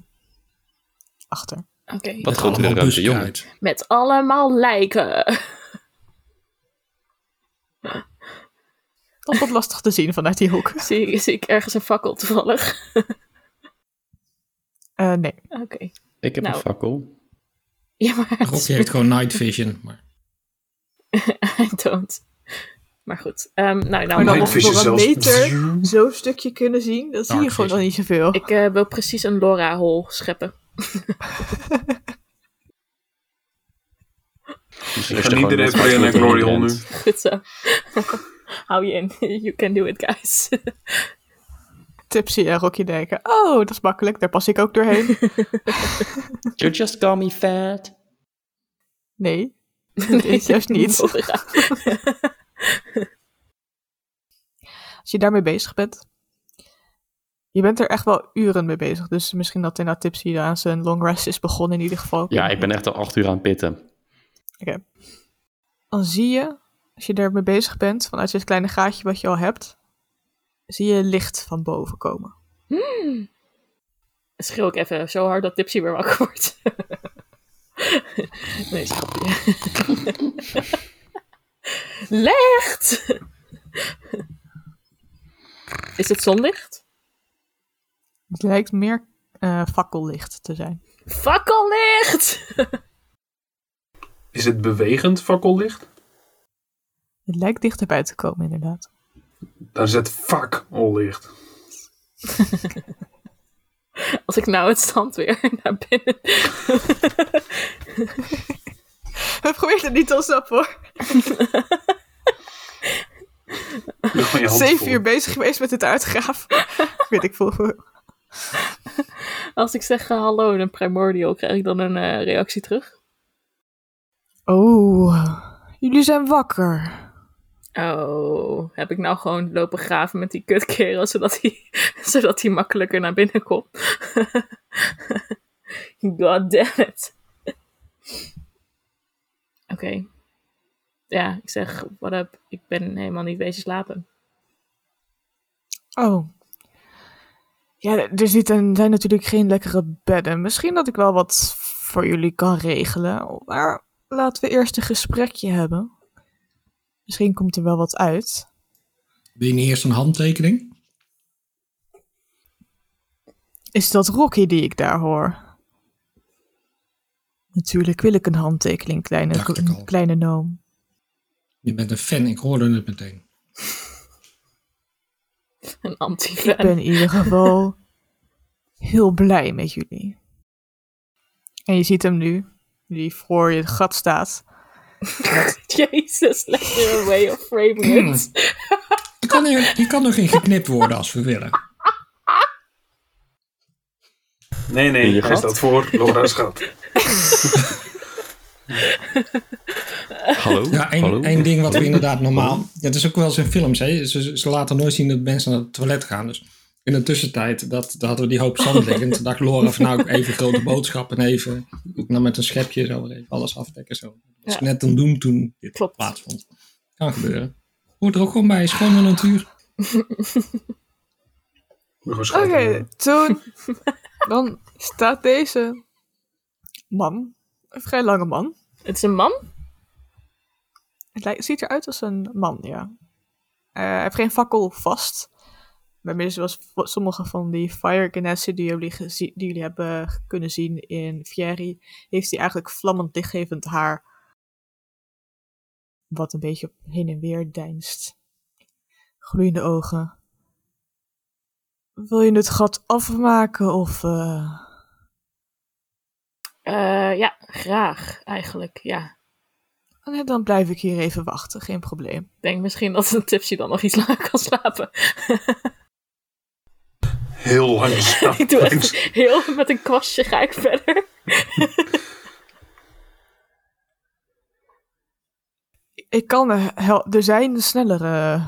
achter.
Oké.
wat grotere
Allemaal
ruimte, jongen.
buskruid.
Met allemaal lijken.
Dat wordt lastig te zien vanuit die hoek.
zie, zie ik ergens een fakkel toevallig.
Eh, nee,
Oké.
Ik heb
Nou.
een fakkel.
Ja, maar het
Rocky heeft gewoon night vision. Maar
I don't. Maar goed. ehm, nou,
Maar
nou,
dan
dan
nog
Night
voor
vision
wat
zelfs.
meter zo'n stukje kunnen zien, dan zie je
Dark
gewoon al
vision.
niet zoveel.
ik eh, wil precies een Laura-hol scheppen.
Dus
ga niet direct voor Jelle en Glory hol nu.
Goed zo. Hou je in. You can do it, guys.
Tipsy en Rocky denken, oh, dat is makkelijk, daar pas ik ook doorheen.
You just call me fat.
Nee, dat is juist niet.
Laura.
Als je daarmee bezig bent, je bent er echt wel uren mee bezig. Dus misschien dat inderdaad Tipsy aan zijn long rest is begonnen in ieder geval.
Ja, ik ben echt al acht uur aan het pitten.
dan zie je, als je ermee bezig bent, vanuit dit kleine gaatje wat je al hebt, zie je licht van boven komen.
Schreeuw ik even zo hard dat Tipsy weer wakker wordt. nee, grapje. Licht! Is het zonlicht?
Het lijkt meer eh, fakkellicht te zijn.
Fakkellicht!
Is het bewegend fakkellicht?
Het lijkt dichterbij te komen, inderdaad.
Dan is het fakkellicht.
Als ik nou het stand weer naar binnen...
We probeert het niet te ontsnappen hoor.
Doe gewoon je hand
Zeven
voor.
uur bezig geweest met het uitgraaf. Weet ik veel.
Als ik zeg eh, hallo en een primordial, krijg ik dan een eh, reactie terug?
Oh, jullie zijn wakker.
Oh, heb ik nou gewoon lopen graven met die kutkerel, zodat hij, zodat hij makkelijker naar binnen komt? God damn it. Oké. Ja, ik zeg, what up? Ik ben helemaal niet bezig slapen.
Oh. Ja, er zitten, zijn natuurlijk geen lekkere bedden. Misschien dat ik wel wat voor jullie kan regelen. Maar laten we eerst een gesprekje hebben. Misschien komt er wel wat uit.
Wil je niet eerst een handtekening?
Is dat Rocky die ik daar hoor? Natuurlijk wil ik een handtekening, kleine,
Dacht ik al.
kleine noom.
Je bent een fan, ik hoorde het meteen.
Een
Ik
anti-fan.
ben in ieder geval heel blij met jullie. En je ziet hem nu, die voor je het gat staat.
Jezus, let your way of framing it.
Je kan, er, je kan nog in geknipt worden als we willen.
Nee,
In
nee,
je
hij
gat?
staat voor Laura's gat.
Hallo?
Ja,
Hallo?
één, één ding wat we inderdaad normaal... Ja, het is ook wel eens in films, hè. Ze, ze laten nooit zien dat mensen naar het toilet gaan. Dus in de tussentijd, dat, daar hadden we die hoop zand liggen. En toen dacht Laura van nou, even grote boodschap en even... Nou, met een schepje zo weer even alles afdekken. Zo. Dat was
Ja.
net een doen toen dit
Klopt.
plaatsvond. Kan gebeuren. Hoort er ook gewoon bij, schone natuur.
Moet gewoon
Oké,
scheiden.
toen. Dan staat deze man, een vrij lange man.
Het is een man?
Het lijkt, ziet eruit als een man, ja. Eh, hij heeft geen fakkel vast. Maar meer zoals vo- sommige van die fire genessen die jullie, gezi- die jullie hebben kunnen zien in Fieri, heeft hij eigenlijk vlammend lichtgevend haar. Wat een beetje op heen en weer deinst. Gloeiende ogen. Wil je het gat afmaken of... eh,
Eh, ja, graag eigenlijk, ja.
Nee, dan blijf ik hier even wachten, geen probleem.
Ik denk misschien dat een tipsy dan nog iets langer kan slapen.
Heel langzaam.
ik doe echt heel met een kwastje ga ik verder.
Ik kan er, hel- er zijn snellere.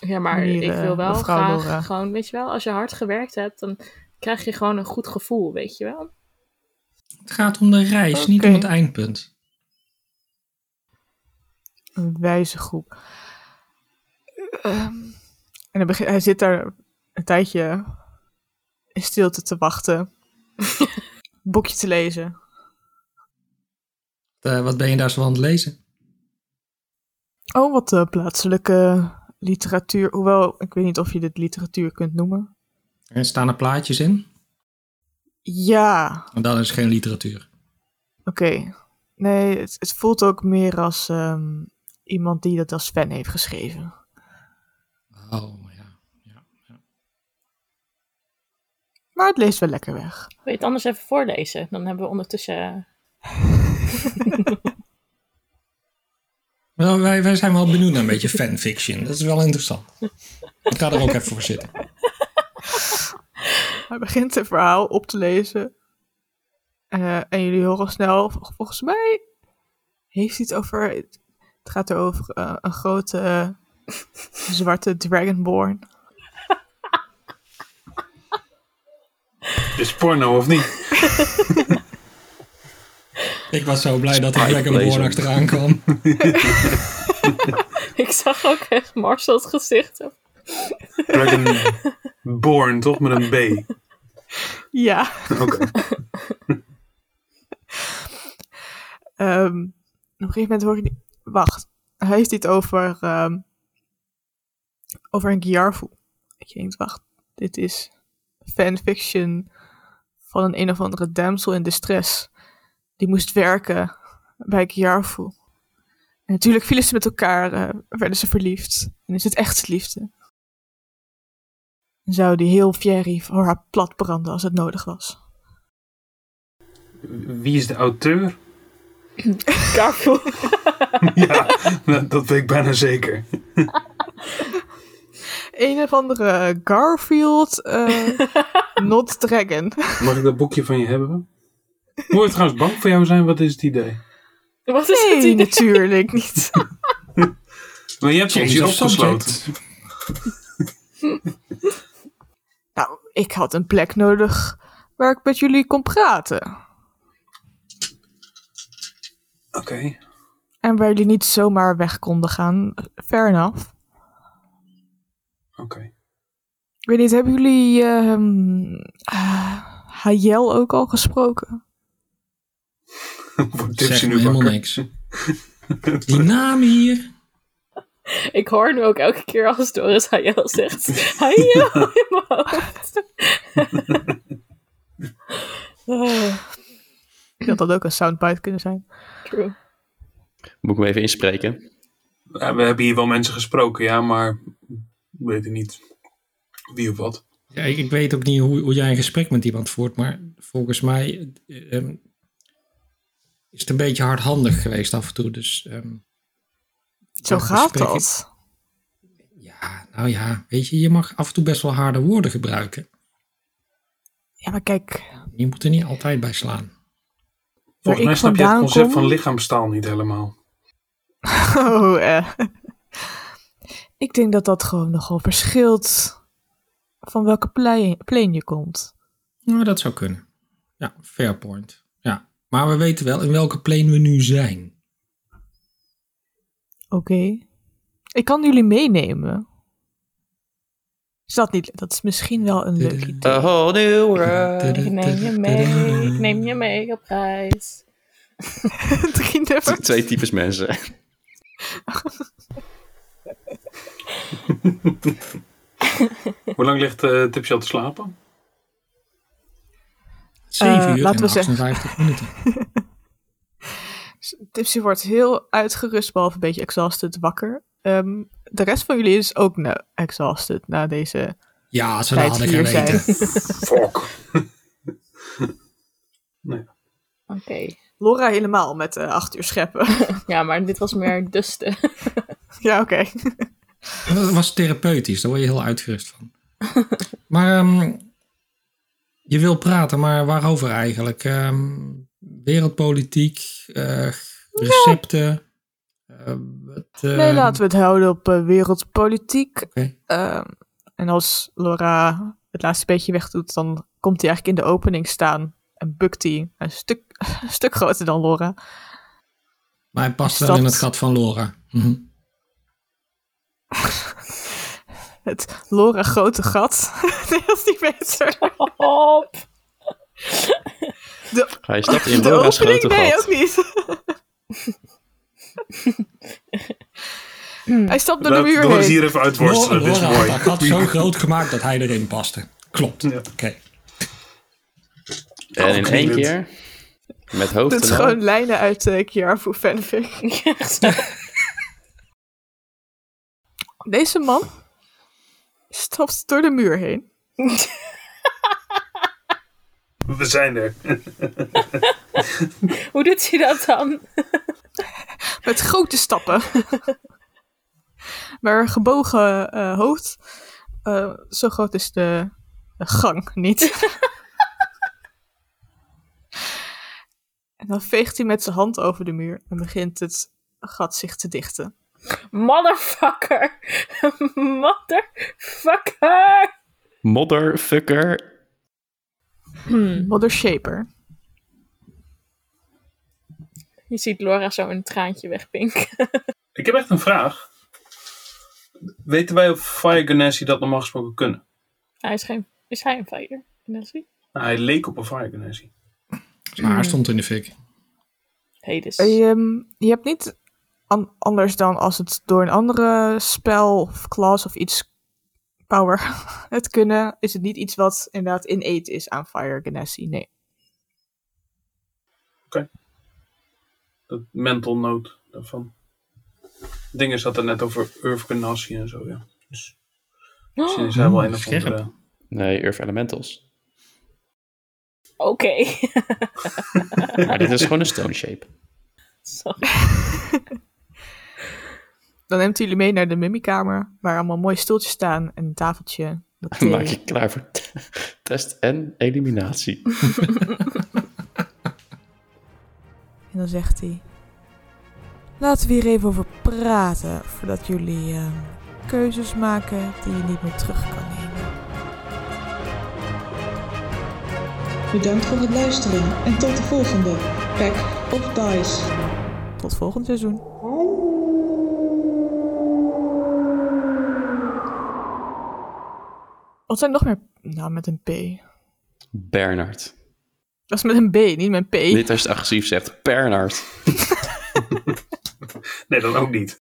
Ja, maar
Hier,
ik wil
eh,
wel
mevrouw
graag
Laura.
gewoon, weet je wel, als je hard gewerkt hebt, dan krijg je gewoon een goed gevoel, weet je wel.
Het gaat om de reis, niet
Oké.
om het eindpunt.
Een wijze groep. Ehm, en hij, begin- hij zit daar een tijdje in stilte te wachten. boekje te lezen.
Eh, wat ben je daar zo aan het lezen?
Oh, wat eh, plaatselijke literatuur. Hoewel, ik weet niet of je dit literatuur kunt noemen.
Er staan er plaatjes in.
Ja,
En dat is geen literatuur.
Oké. Nee, het, het voelt ook meer als ehm, iemand die dat als fan heeft geschreven.
Oh, ja. ja, ja.
Maar het leest wel lekker weg.
Wil je het anders even voorlezen? Dan hebben we ondertussen...
Wel, Nou, wij, wij zijn wel benieuwd naar een beetje fanfiction. Dat is wel interessant. Ik ga er ook even voor zitten.
Hij begint zijn verhaal op te lezen. Eh, en jullie horen al snel, vol- volgens mij heeft hij het over. Het gaat over eh, een grote eh, zwarte Dragonborn.
Is porno of niet?
Ik was zo blij dat de
Spike
Dragonborn
Blazer.
achteraan kwam.
ik zag ook echt Marcel's gezicht.
Dragonborn, toch? Met een B.
Ja.
Oké.
ehm, op een gegeven moment hoor je. die- Wacht, hij heeft dit over. ehm, over een Giarfu. Dat je denkt, wacht, dit is fanfiction van een een of andere damsel in distress. Die moest werken bij Giarfu. En natuurlijk vielen ze met elkaar, eh, werden ze verliefd. En is het echt liefde. En zou die heel Fieri voor haar plat branden als het nodig was.
Wie is de auteur?
Garfield.
ja, nou, dat weet ik bijna zeker.
Een of andere Garfield eh, Not Dragon.
Mag ik dat boekje van je hebben? Moet ik trouwens bang voor jou zijn? Wat is het idee?
Wat is het
Nee,
idee?
natuurlijk niet.
Maar je hebt ons hier
Change of
opgesloten.
Nou, ik had een plek nodig waar ik met jullie kon praten.
Oké.
En waar jullie niet zomaar weg konden gaan. Fair enough.
Oké.
Ik weet niet, hebben jullie ehm eh, Hayel ook al gesproken?
Wordt
Zeg
Tipsy
me
nu
helemaal
wakker?
niks. Die naam hier.
Ik hoor nu ook elke keer als Doris Hayel zegt... Hayel in mijn hoofd. Oh,
Ik had dat ook een soundbite kunnen zijn.
true.
Moet ik hem even inspreken?
Ja, we hebben hier wel mensen gesproken, ja, maar we weten niet wie of wat.
Ja, ik, ik weet ook niet hoe, hoe jij een gesprek met iemand voert, maar volgens mij eh, ehm, is het een beetje hardhandig geweest af en toe. Dus ehm,
Zo
dat
gaat
gesprek-
dat.
Ja, nou ja, weet je, je mag af en toe best wel harde woorden gebruiken.
Ja, maar kijk,
Je moet er niet altijd bij slaan.
ik
Volgens mij snap je het
vandaan
concept
kom-
van lichaamstaal niet helemaal.
Oh, eh. Ik denk dat dat gewoon nogal verschilt van welke plei- plane je komt.
Nou, dat zou kunnen. Ja, fair point. Ja, maar we weten wel in welke plane we nu zijn.
Oké. Ik kan jullie meenemen. Is dat niet? Dat is misschien wel een leuk idee.
Eh,
A whole new world.
Ik neem je mee, ik neem je mee op reis.
Drie nummers.
Twee types mensen.
Hoe lang ligt eh Tipsy al te slapen?
7
Eh,
uur
laten
en
we zeggen-
58 minuten.
Tipsy wordt heel uitgerust, behalve een beetje exhausted, wakker. Ehm, de rest van jullie is ook nou exhausted na deze
Ja, ze
tijd
hadden
hier zijn.
geweten.
Fuck.
Oké.
Laura helemaal met eh, acht uur scheppen.
Ja, maar dit was meer dusten.
ja, oké.
Dat was therapeutisch, daar word je heel uitgerust van. Maar ehm, je wil praten, maar waarover eigenlijk? Ehm, wereldpolitiek, eh, recepten. eh, wat, eh,
Nee, laten we het houden op eh, wereldpolitiek.
Oké.
Ehm, en als Laura het laatste beetje wegdoet, dan komt hij eigenlijk in de opening staan. En bukt hij een stuk, een stuk groter dan Laura.
Maar hij past
Is
wel in
dat-
het gat van Laura. Mhm.
Het Laura grote gat. Nee, dat is niet beter.
Op.
Hij stapt in
de
Laura's
opening?
grote
Oh, Nee,
gat.
ook niet. Hij stapt door de
Laat
muur
Doris
heen.
hier even uitworstelen,
Laura
dit is
had dat gat zo
mooi.
groot gemaakt dat hij erin paste. Klopt.
Ja.
Oké.
En in één keer, met hoofd
Dit is
en al,
gewoon lijnen uit de Kiarfu eh, fanfic.
Echt zo.
Deze man stapt door de muur heen.
We zijn er.
Hoe doet hij dat dan?
Met grote stappen. maar gebogen eh, hoofd. Eh, zo groot is de, de gang niet. en dan veegt hij met zijn hand over de muur en begint het gat zich te dichten.
Motherfucker! Motherfucker!
Motherfucker.
Mother Shaper.
Je ziet Laura zo een traantje wegpinken.
Ik heb echt een vraag. Weten wij of Fire Ganassi dat normaal gesproken kunnen?
Hij is, geen, is hij een fighter? Nancy?
Nou, hij leek op een Fire Ganassi.
Zijn haar stond in de fik.
Hey, dus.
Je, ehm, je hebt niet an- anders dan als het door een andere spel of class of iets power het kunnen, is het niet iets wat inderdaad innate is aan Fire Ganassi. Nee.
Dat mental note daarvan. Dingen zat er net over Urf Ganassi en zo, ja. Dus misschien is hij wel een of
scherp.
andere...
Nee, Earth Elementals.
Oké.
Maar dit is gewoon een stone shape.
Sorry.
Dan neemt hij jullie mee naar de mimiekamer, waar allemaal mooie stoeltjes staan en een tafeltje. Dat,
Maak
eh,
je klaar voor t- test en eliminatie.
En dan zegt hij: Laten we hier even over praten voordat jullie ehm, keuzes maken die je niet meer terug kan nemen.
Bedankt voor het luisteren en tot de volgende Pack of Dice.
Tot volgend seizoen. Wat zijn nog meer? Nou, met een P.
Bernard.
Dat is met een B, niet met een P.
Niet als je het agressief zegt. Bernard.
Nee, dan ook niet.